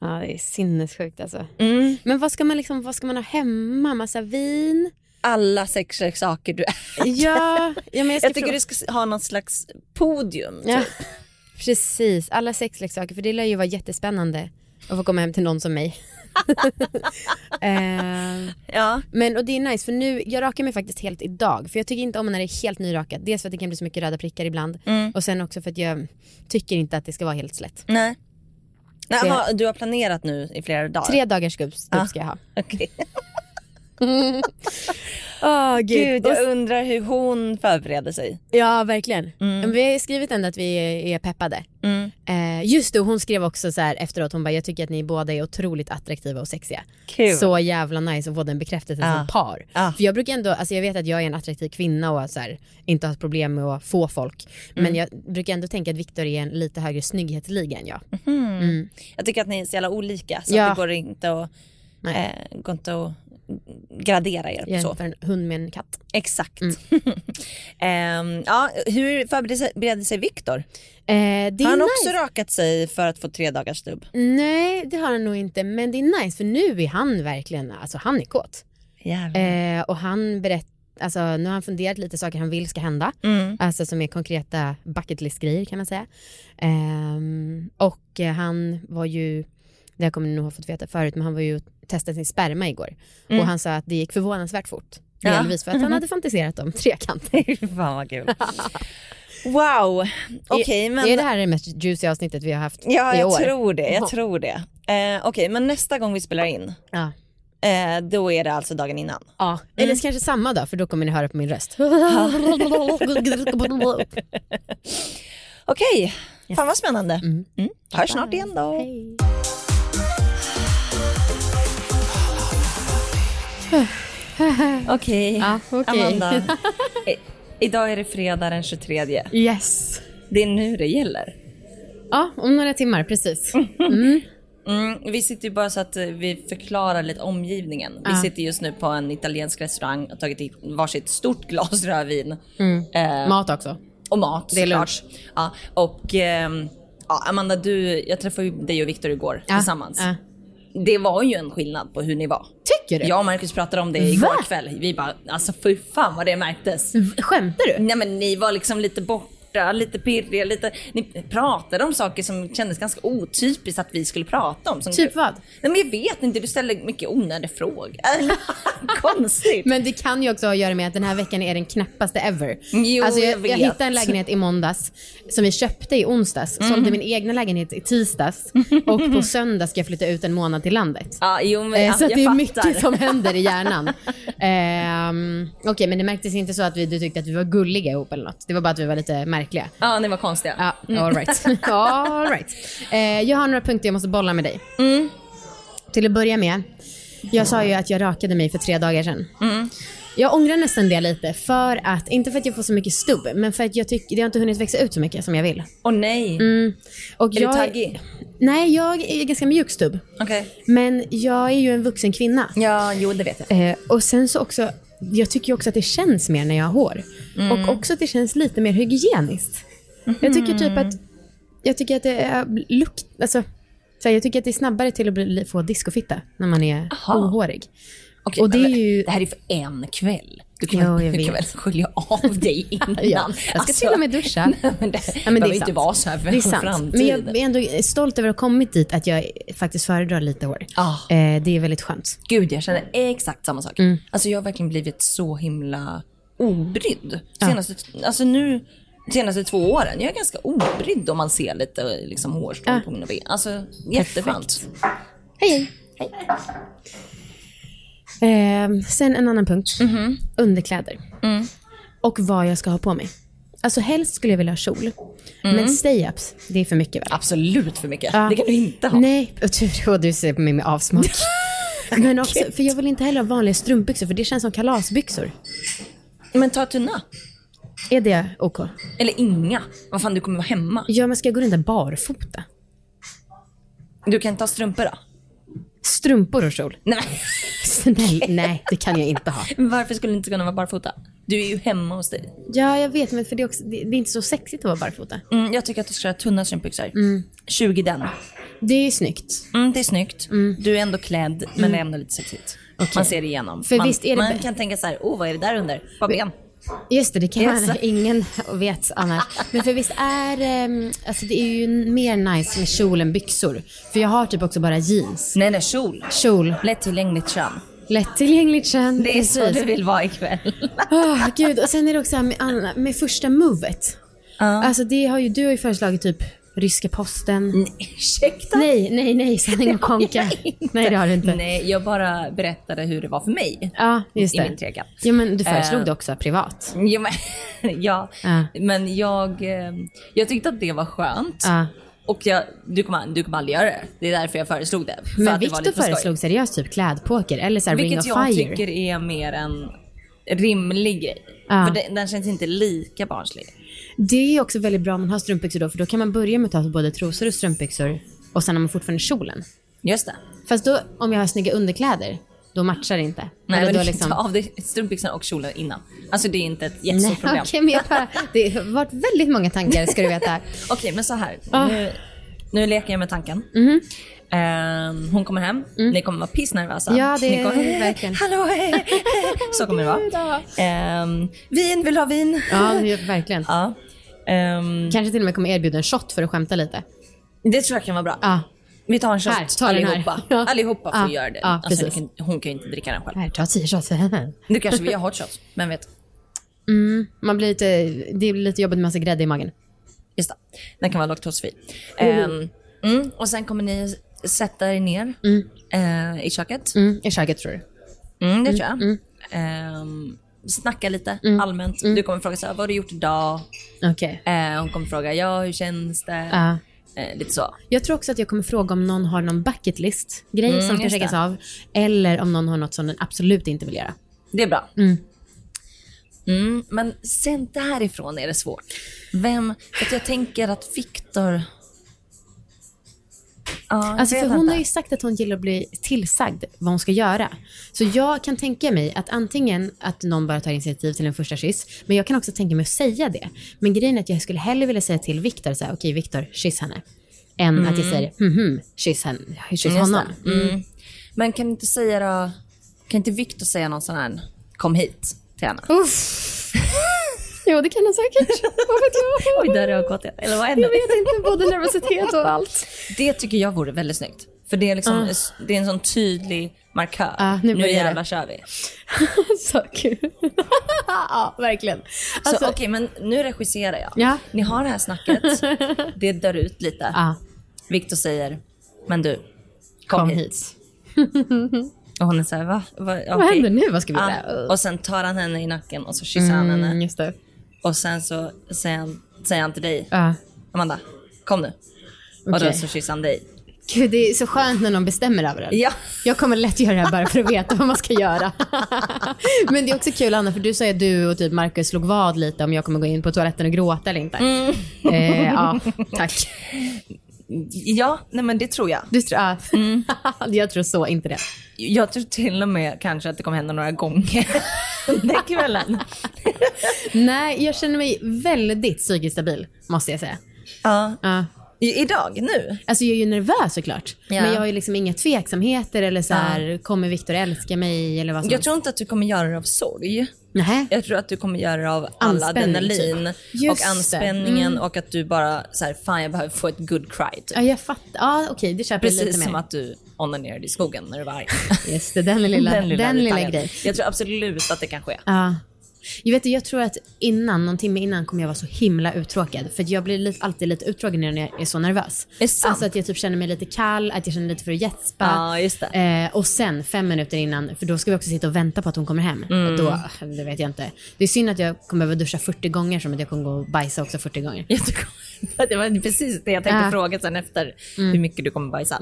ja, det är sinnessjukt alltså. Mm. Men vad ska man liksom, vad ska man ha hemma? Massa vin? Alla sexleksaker du är. Ja, ja men jag, ska Jag tycker fråga- du ska ha någon slags podium. Ja. Typ. Precis, alla sexleksaker för det lär ju vara jättespännande att få komma hem till någon som mig. Ehm, typ. Ja. men och det är nice för nu, jag rakar mig faktiskt helt idag för jag tycker inte om när det är helt nyrakat. Dels för att det kan bli så mycket röda prickar ibland Mm. och sen också för att jag tycker inte att det ska vara helt slätt. Nej. Nej, Så jag- aha, du har planerat nu i flera dagar? Tre dagars gubbs typ Ah. ska jag ha. Okej. Åh Gud, Och s- jag undrar hur hon förbereder sig. Ja verkligen. Mm. Men Vi har ju skrivit ändå att vi är peppade. Mm. Eh, just det, och hon skrev också så här efteråt, hon bara jag tycker att ni båda är otroligt attraktiva och sexiga. Kul. Ah. Så jävla nice att få den bekräftelsen Ja. som par. Ja. För jag brukar ändå, alltså jag vet att jag är en attraktiv kvinna och så här, inte har problem med att få folk. Men Mm. jag brukar ändå tänka att Viktor är en lite högre snygghetsliga än jag. Mm. Jag tycker att ni är så jävla olika så Ja. att det går inte att, Nej. eh, går inte att gradera er. Jag är Så. för en hund med en katt. Exakt. Mm. Ehm, ja, hur förbereder sig, bereder sig Viktor? Eh, det är Har han nice. också rakat sig för att få tre dagars stubb? Nej det har han nog inte men det är nice för nu är han verkligen, alltså han är kåt. Jävlar. Eh, och han berättar, alltså nu har han funderat lite saker han vill ska hända. Mm. Alltså som är konkreta bucket list grejer kan man säga. Ehm, och eh, han var ju, det här kommer ni nog ha fått veta förut, men han var ju och testade sin sperma igår. Mm. Och han sa att det gick förvånansvärt fort. Ja. Delvis för att han hade fantiserat om trekant. Fan vad kul. wow, okej men Är det här det mest juicy avsnittet vi har haft Ja, i jag år? tror det. Ja. Jag tror det. Eh, Okej, men nästa gång vi spelar in, Ja. eh, då är det alltså dagen innan. Ja. Eller Mm. kanske samma dag för då kommer ni höra på min röst. Okej, fan vad spännande. Mm. Hörs snart Bye. igen då. Hej. Okej, Ja, okej. Amanda. I- idag är det fredag den 23. Yes. Det är nu det gäller. Ja, om några timmar precis. Mm, vi sitter ju bara så att eh, vi förklarar lite omgivningen. Vi sitter just nu på en italiensk restaurang och har tagit i varsitt stort glas rödvin. Mm. Eh, Mat också. Och mat Det är såklart. Ja, och ehm, ja, Amanda, du, jag träffade ju dig och Viktor igår Ja, tillsammans. ja. Det var ju en skillnad på hur ni var. Tycker du? Jag och Marcus pratade om det igår kväll. Vi bara, alltså fy fan vad det märktes. Skämtar du? Nej men ni var liksom lite bort borta, lite pirriga, lite... Ni pratade om saker som kändes ganska otypiskt att vi skulle prata om. Som Typ vad? Nej, men jag vet inte, du ställer mycket onödiga frågor. Äh, Konstigt. Men det kan ju också ha att göra med att den här veckan är den knappaste ever. Mm, Jo, alltså jag jag, vet. jag hittade en lägenhet i måndags som vi köpte i onsdags, Mhm. sålde min egna lägenhet i tisdags och på söndag ska jag flytta ut en månad till landet. Ja, jo, men, Eh, ja, så att jag det är fattar. mycket som händer i hjärnan. Ehm, Okej, men det märktes inte så att vi, du tyckte att vi var gulliga ihop eller något. Det var bara att vi var lite märkliga. Ja, Mm. ni var konstiga. Ja, all right. all right. Eh, jag har några punkter jag måste bolla med dig. Mm. Till att börja med, jag sa ju att jag rakade mig för tre dagar sedan. Mm. Jag ångrar nästan det lite, för att, inte för att jag får så mycket stubb, men för att jag tycker det har inte hunnit växa ut så mycket som jag vill. Åh nej. Är Och Mm, jag, du taggig? Nej, jag är ganska mjuk stubb. Okej. Men jag är ju en vuxen kvinna. Ja, jo det vet jag. Eh, och sen så också, jag tycker ju också att det känns mer när jag har hår. Mm. Och också att det känns lite mer hygieniskt. Jag tycker typ att, jag tycker att det är lukt, alltså, så här, jag tycker att det är snabbare till att bli, få discofitta när man är Aha. ohårig. Okej, Och det är men- ju- det här är för en kväll. Du kan, Jo, jag väl- du kan väl vet. skölja av dig innan. jag ska till och med duscha. alltså. Nej, men det Ja, men det behöver är inte sant. vara så här för Det är sant. Men framtiden. jag är ändå stolt över att ha kommit dit att jag faktiskt föredrar lite hår. Ah. Eh, det är väldigt skönt. Gud, jag känner exakt samma sak. Mm. Alltså jag har verkligen blivit så himla obrydd. Senaste, alltså nu, senaste två åren. Jag är ganska obrydd om man ser lite liksom, hårstrån på mina ben. Alltså jätteskönt. Eh, sen en annan punkt. Mhm. Underkläder. Mm. Och vad jag ska ha på mig. Alltså helst skulle jag vilja ha kjol. Men stay-ups, det är för mycket väl? Absolut för mycket. Ja. Mm. Det kan du inte ha. Nej, och tur och du ser på mig med avsmak. Men också, för jag vill inte heller ha vanliga strumpbyxor för det känns som kalasbyxor. Men ta tunna. Är det OK? Eller inga. Vad fan, du kommer vara hemma. Ja, men ska jag gå runt där barfota? Du kan ta strumpor då. Strumpor och kjol? Nej, Snäll, nej, det kan jag inte ha. men varför skulle du inte kunna vara barfota? Du är ju hemma hos dig. Ja, jag vet, men för det är, också, det, det är inte så sexigt att vara barfota. Mm, jag tycker att du ska ha tunna strumpbyxor. Mm. 20 den. Det är ju snyggt. Mm, det är snyggt. Du är ändå klädd, men det är ändå lite sexigt. Man ser igenom. Mm. För man visst är det man bä- kan tänka så här, oh vad är det där under? Bara ben. Just det, det kan Yes. man. Ingen vet annars. Men för visst är ehm, alltså det är ju mer nice med kjol än byxor. För jag har typ också bara jeans. Nej, nej, kjol. Kjol, Lättillgängligt kön. lättillgängligt kön. Det är så precis. du vill vara ikväll. Åh, gud, och sen är det också här med, Anna, med första movet. Alltså det har ju du har ju föreslagit typ ryska posten. Nej, Ursäkta? Nej, nej, nej, sanning och konka. Nej, det har du inte. Nej, jag bara berättade hur det var för mig. Ja, just I det. min trekant. Ja, men du föreslog Eh. det också privat. Jo, men, ja, Ja. men jag, eh, jag tyckte att det var skönt. Ja. Och jag, du, kommer, du kommer aldrig göra det. Det är därför jag föreslog det. För Men att det var Viktor lite för skoj. föreslog seriöst typ klädpoker eller så här ring Vilket of jag fire. tycker är mer en rimlig grej. Ja. För den, den känns inte lika barnslig. Det är också väldigt bra om man har strumpbyxor då, för då kan man börja med att ta både trosor och strumpbyxor och sen har man fortfarande kjolen. Just det. Fast då, om jag har snygga underkläder, då matchar det inte. Nej, Eller men då du liksom... ta av dig strumpbyxorna och kjolen innan. Alltså det är inte ett Nej, jättestort okej, problem. men jag bara, det har varit väldigt många tankar ska du veta. Okej, men så här. Ah. Nu, nu leker jag med tanken. Mhm. Ehm, hon kommer hem, ni kommer vara pissnervösa. Mm. Ja, det ni kommer, är verkligen. Hallå, hej, hej. Så kommer det vara. Ehm, vin, vill du ha vin? Ja, verkligen. Ja. Ehm, Kanske till och med kommer erbjuda en shot för att skämta lite. det tror jag kan vara bra. Ja. Vi tar en shot Här, ta den här. allihopa. Ja. Allihopa får Ja, göra det. ja, alltså, precis. ni kan, hon kan ju inte dricka den själv. Här, ta tio shots. Nu kanske vi har hot shots, vem vet. Mm, man blir lite, det blir lite jobbigt med massa grädde i magen. Just det. Den kan vara laktosfri. Oh. Ehm, mm, och sen kommer ni sätta er ner eh, i köket. Mm, I köket tror du. Mm, mm. det tror jag. Ehm, snacka lite allmänt. Du kommer fråga så här, vad har du gjort idag? Okej. Eh, hon kommer fråga, ja hur känns det? Ja. Eh, lite så. Jag tror också att jag kommer fråga om någon har någon bucket list grej som kan Mm, just checkas det. av. Eller om någon har något som den absolut inte vill göra. Det är bra. Mm, men sen därifrån är det svårt. Vem, för att jag tänker att Viktor... Ja, jag Alltså vet för hon inte. har ju sagt att hon gillar att bli tillsagd vad hon ska göra. Så jag kan tänka mig att antingen att någon bara tar initiativ till en första kyss, men jag kan också tänka mig att säga det. Men grejen är att jag skulle hellre vilja säga till Viktor så här, okej Viktor, kyss henne. Än att jag säger, hm hm, kyss, henne, kyss Mm. Just honom. det. Mm. Men kan inte säga då, kan inte Viktor säga någon sån här, kom hit till henne? Uff. Jo, det kan han säkert. Vad vet jag? Oj, där har jag gått. Eller vad är Jag det? vet inte, både nervositet och allt. Det tycker jag vore väldigt snyggt. För det är, liksom, Ah. det är en sån tydlig markör. Ah, nu nu börjar det. jävlar kör vi. Så kul. ja, verkligen. Så Alltså, okej, men nu regisserar jag. Ja. Ah. Ni har det här snacket. det dör ut lite. ja, Viktor säger, men du, kom, kom hit. hit. Och hon är såhär, va? va? Vad händer nu? Vad ska vi Ja. göra? Och sen tar han henne i nacken och så kysser han Mm, henne. just det. Och sen så säger han, säger han till dig, Ja. Amanda, kom nu. Och då Ah. Okej. så kysser han dig. Gud, det är så skönt när någon bestämmer över en. Ja. Jag kommer lätt göra det här bara för att veta vad man ska göra. Men det är också kul Anna, för du sa ju att du och typ Marcus slog vad lite om jag kommer gå in på toaletten och gråta eller inte. Eh, ja, tack. Ja, nej men det tror jag. Du tror, ja. jag tror så inte det. Jag tror till och med kanske att det kommer hända några gånger den kvällen. Nej, jag känner mig väldigt psykiskt stabil, måste jag säga. Ja. Ja. I- Idag, nu. Alltså jag är ju nervös såklart. Ja. Men jag har ju liksom inga tveksamheter eller så här, kommer Viktor älska mig eller vad som Jag tror inte att du kommer göra det av sorg. Nej. Jag tror att du kommer göra det av all Anspänning, typ. adrenalin Just och det. Mm. anspänningen och att du bara så här, fan jag behöver få ett good cry. Typ. Ja, jag fattar. Ja, okej, det köper jag lite Precis mer. som att du onanerade i skogen när du var arg. Just det, den lilla, den lilla, detaljen. grejen. Jag tror absolut att det kan ske. Ja. Jag, vet, jag tror att innan, någon timme innan kommer jag vara så himla uttråkad. För att jag blir lite, alltid lite uttråkad när jag är så nervös. Är sant? Alltså att jag typ känner mig lite kall, att jag känner lite för att gäspa. Ja, just det. Eh, och sen fem minuter innan, för då ska vi också sitta och vänta på att hon kommer hem. Mm. Då, det vet jag inte. Det är synd att jag kommer behöva duscha 40 gånger som att jag kommer gå och bajsa också 40 gånger. Jättekonstigt. Det var precis det jag tänkte Ja. fråga sen efter hur mycket du kommer bajsa.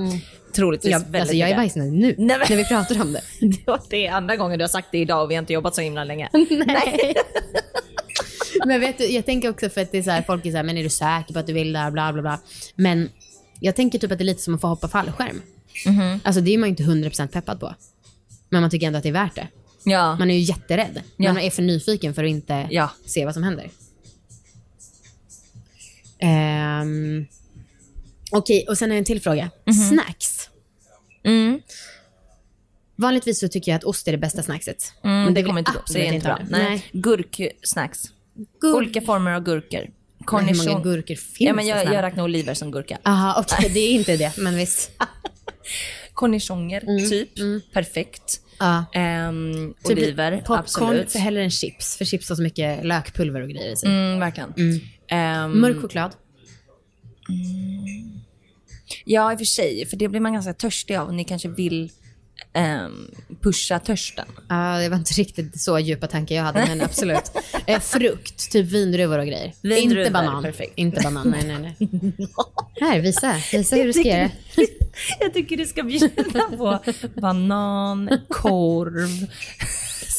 Troligtvis Jag, väldigt alltså jag är mycket. bajsnödig nu, Nej, men- när vi pratar om det. Det var det andra gången du har sagt det idag och vi har inte jobbat så himla länge. Nej. men vet du, jag tänker också för att det är så här, folk är så här, men är du säker på att du vill det här, bla bla bla. Men jag tänker typ att det är lite som att få hoppa fallskärm. Mhm. Alltså det är man ju inte 100% peppad på. Men man tycker ändå att det är värt det. Ja. Man är ju jätterädd. Ja. Men man är för nyfiken för att inte Ja. se vad som händer. Um, Okej, och sen har jag en till fråga. Mhm. Snacks. Mm. Vanligtvis så tycker jag att ost är det bästa snackset. Mm, Men det vill kommer jag inte gå. Det absolut är inte bra. ha. Nej. Gurksnacks. Gurk- Olika former av gurkor. Men Hur många Cornichon. gurkor finns Ja, men det, jag, snälla? jag räknar oliver som gurka. Aha, okej, det är inte det, men visst. Cornichoner, typ. Perfekt. Ja. Ehm, Typ oliver, popcorn absolut. för hellre än chips, för chips har så mycket lökpulver och grejer i sig. Mm, verkligen. Ehm, Mörk choklad. ja, i och för sig. För det blir man ganska törstig av. och Ni kanske vill ehm, pusha törsten. Ja, det var inte riktigt så djupa tankar jag hade, men absolut. Eh, frukt, typ vindruvor och grejer. Vindruvor, inte banan. perfekt. Inte banan, nej nej nej. Här, visa. Visa Ah, hur du ska göra. Jag tycker du ska bjuda på banan, korv,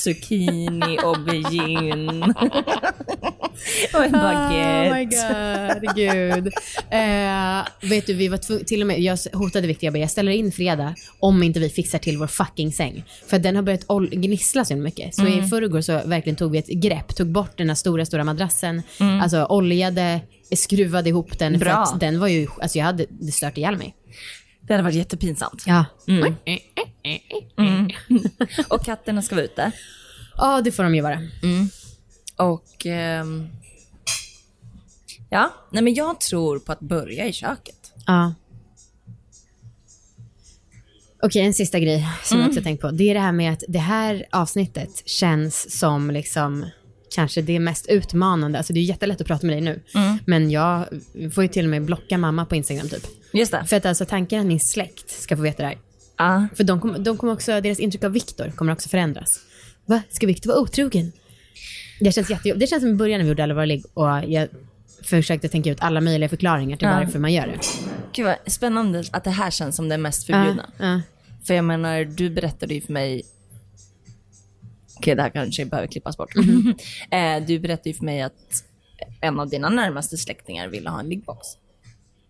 zucchini, aubergine och en Oh my baguette. god, gud. Eh, vet du, vi var tvungna, till och med, jag hotade Victor, jag bara, jag ställer in fredag om inte vi fixar till vår fucking säng. För att den har börjat ol- gnissla så mycket. Så i förrgår så verkligen tog vi ett grepp, tog bort den här stora, stora madrassen, alltså oljade, skruvade ihop den. Bra. För att den var ju, alltså jag hade det stört ihjäl mig. Det hade varit jättepinsamt. Ja. Mm. Och katterna ska vara ute. eh, Ja, det får de ju vara. Och... ehm, ja, nej men jag tror på att börja i köket. Ja. Okej, en sista grej som Mm. jag också tänkt på. Det är det här med att det här avsnittet känns som liksom kanske det mest utmanande. Alltså det är jättelätt att prata med dig nu. Mm. Men jag får ju till och med blocka mamma på Instagram typ. Just det. För att alltså tanken att min släkt ska få veta det här. Ja. För de kommer, de kommer också, deras intryck av Viktor kommer också förändras. Va? Ska Viktor vara otrogen? Det känns, jättejobb- det känns som i början när vi gjorde Allvar ligg och jag försökte tänka ut alla möjliga förklaringar till Ja. varför man gör det. Gud vad spännande att det här känns som det mest förbjudna. Ja, För jag menar, du berättade ju för mig... Okej, det här kanske behöver klippas bort. eh, du berättade ju för mig att en av dina närmaste släktingar ville ha en liggbox.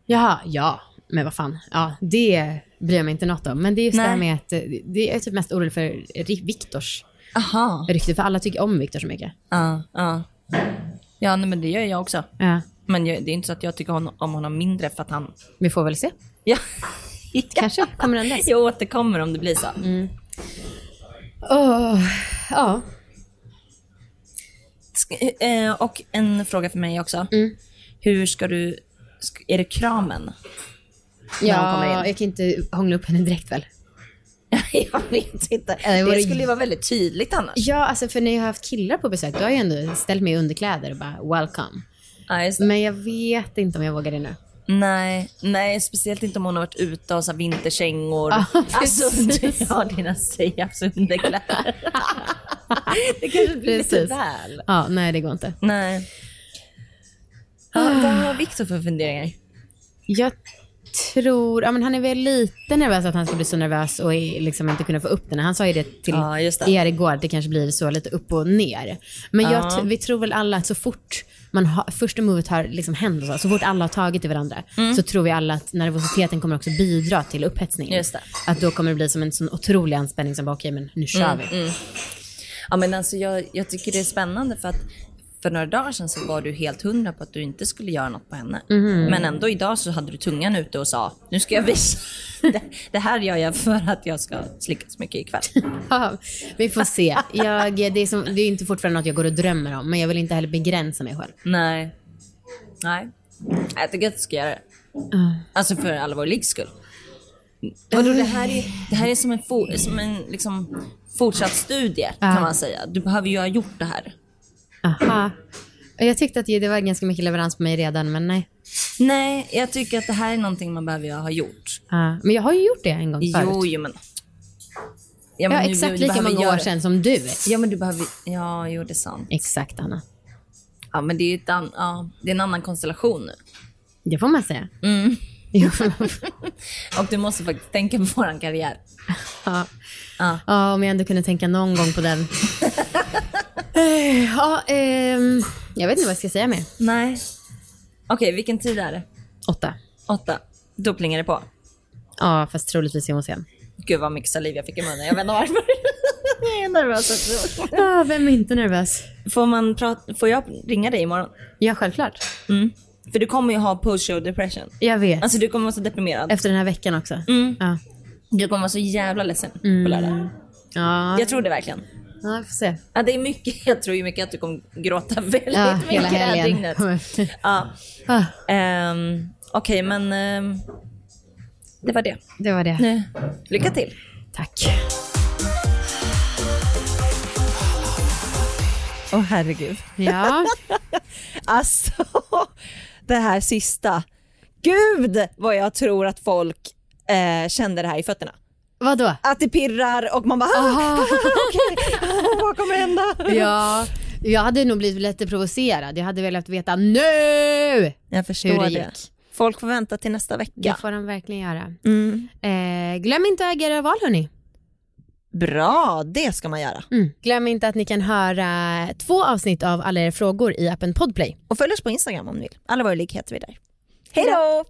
Jaha, ja. Men vad fan. Ja, det bryr jag mig inte något om. Men det är just det här Nej. med att eh, det är typ mest orolig för Ri- Viktors Aha. rykte. För alla tycker om Viktor så mycket. Ja, ja. Ja, nej, men det gör jag också. Ja, Men jag, det är inte så att jag tycker hon, om honom mindre för att han... vi får väl se. Ja. Kanske kommer den där. Jag återkommer om det blir så. Åh, ja. Sk- eh, och en fråga för mig också. Hur ska du... sk- Är det kramen? hon kommer Ja, in. jag kan inte hångla upp henne direkt väl? jag vet inte. det vore- Det skulle ju vara väldigt tydligt annars. Ja, alltså för när jag har haft killar på besök, då har jag ändå ställt mig i underkläder och bara welcome. Ja, just det. Men jag vet inte om jag vågar det nu. Nej, nej, speciellt inte om hon har varit ute och så här vinterkängor. Ja, alltså, du Ah, precis. har dina Seiafs underkläder. det kanske blir lite Precis. väl. Ja, nej det går inte. Nej. Ja, vad har Victor för funderingar? Jag tror, ja men han är väl lite nervös att han ska bli så nervös och i- liksom inte kunna få upp den. Han sa ju det till Ja, just det. er igår, att det kanske blir så lite upp och ner. Men jag, Ja. tr- vi tror väl alla att så fort man har, första movet har liksom hänt, och så, så fort alla har tagit i varandra, Mm. så tror vi alla att nervositeten kommer också bidra till upphetsningen. Just det. Att då kommer det bli som en sån otrolig anspänning som bara, okej men nu kör vi. Mm, Ja, men alltså, jag, jag tycker det är spännande för att för några dagar sedan så var du helt hundra på att du inte skulle göra något på henne. Mhm. Men ändå idag så hade du tungan ute och sa nu ska jag visa. Det, det här gör jag för att jag ska slicka så mycket ikväll. Ja, vi får se. Jag, det, är som, det är inte fortfarande något jag går och drömmer om, men jag vill inte heller begränsa mig själv. Nej. Nej. Jag tycker att du ska göra det. Alltså för allvarlig skull. Vadå, det, här är, det här är som en, for, som en liksom, fortsatt studie kan man säga. Du behöver ju ha gjort det här. Aha. Jag tyckte att det var ganska mycket leverans på mig redan, men nej. Nej, jag tycker att det här är någonting man behöver ju ha gjort. Ja, men jag har ju gjort det en gång förut. Jo, jo men. ja, men nu- exakt du lika behöver många göra- år sedan som du. Ja men du behöver, ja jo det är sant. Exakt, Anna. Ja men det är, ju ett an, ja, det är en annan konstellation nu. Det får man säga. Mm. Jo, Och du måste faktiskt tänka på våran karriär. ja. Ja. Ja, om jag ändå kunde tänka någon gång på den. Eh, ja, ehm, jag vet inte vad jag ska säga mer. Nej. Okej, vilken tid är det? Åtta. Åtta. Då plingar det på. Ja, fast troligtvis är hon sen. Gud vad mycket saliv jag fick i munnen. Jag vet inte varför. jag är nervös. Ah, vem är inte nervös? Får, man prata, får jag ringa dig imorgon? Ja, självklart. Mm. För du kommer ju ha post-show depression. Jag vet. Alltså Mm. du kommer vara så deprimerad. Efter den här veckan också. Ja. Du kommer vara så jävla ledsen på lördag. Ja, Jag tror det verkligen. ja, vi får se. Ja, det är mycket, jag tror ju mycket att du kommer gråta väldigt Ja, mycket hela det här helgen. dygnet. Ja. Ah, Ehm, Okej, men ehm, det var det. det var det. Nu, lycka till. Tack. Åh herregud. Ja, Alltså, det här sista. Gud vad jag tror att folk eh, kände det här i fötterna. vadå? Att det pirrar och man bara ah, okej, ah, vad kommer hända? Ja, jag hade nog blivit lite provocerad. Jag hade velat veta nu! Jag Hur förstår det det. gick. Folk får vänta till nästa vecka. Det får de verkligen göra. Mm. Eh, glöm inte att agera val hörni. Bra, det ska man göra. Mm. Glöm inte att ni kan höra två avsnitt av alla era frågor i appen Podplay. Och följ oss på Instagram om ni vill. Alla våra ligg heter vi där. Hej då!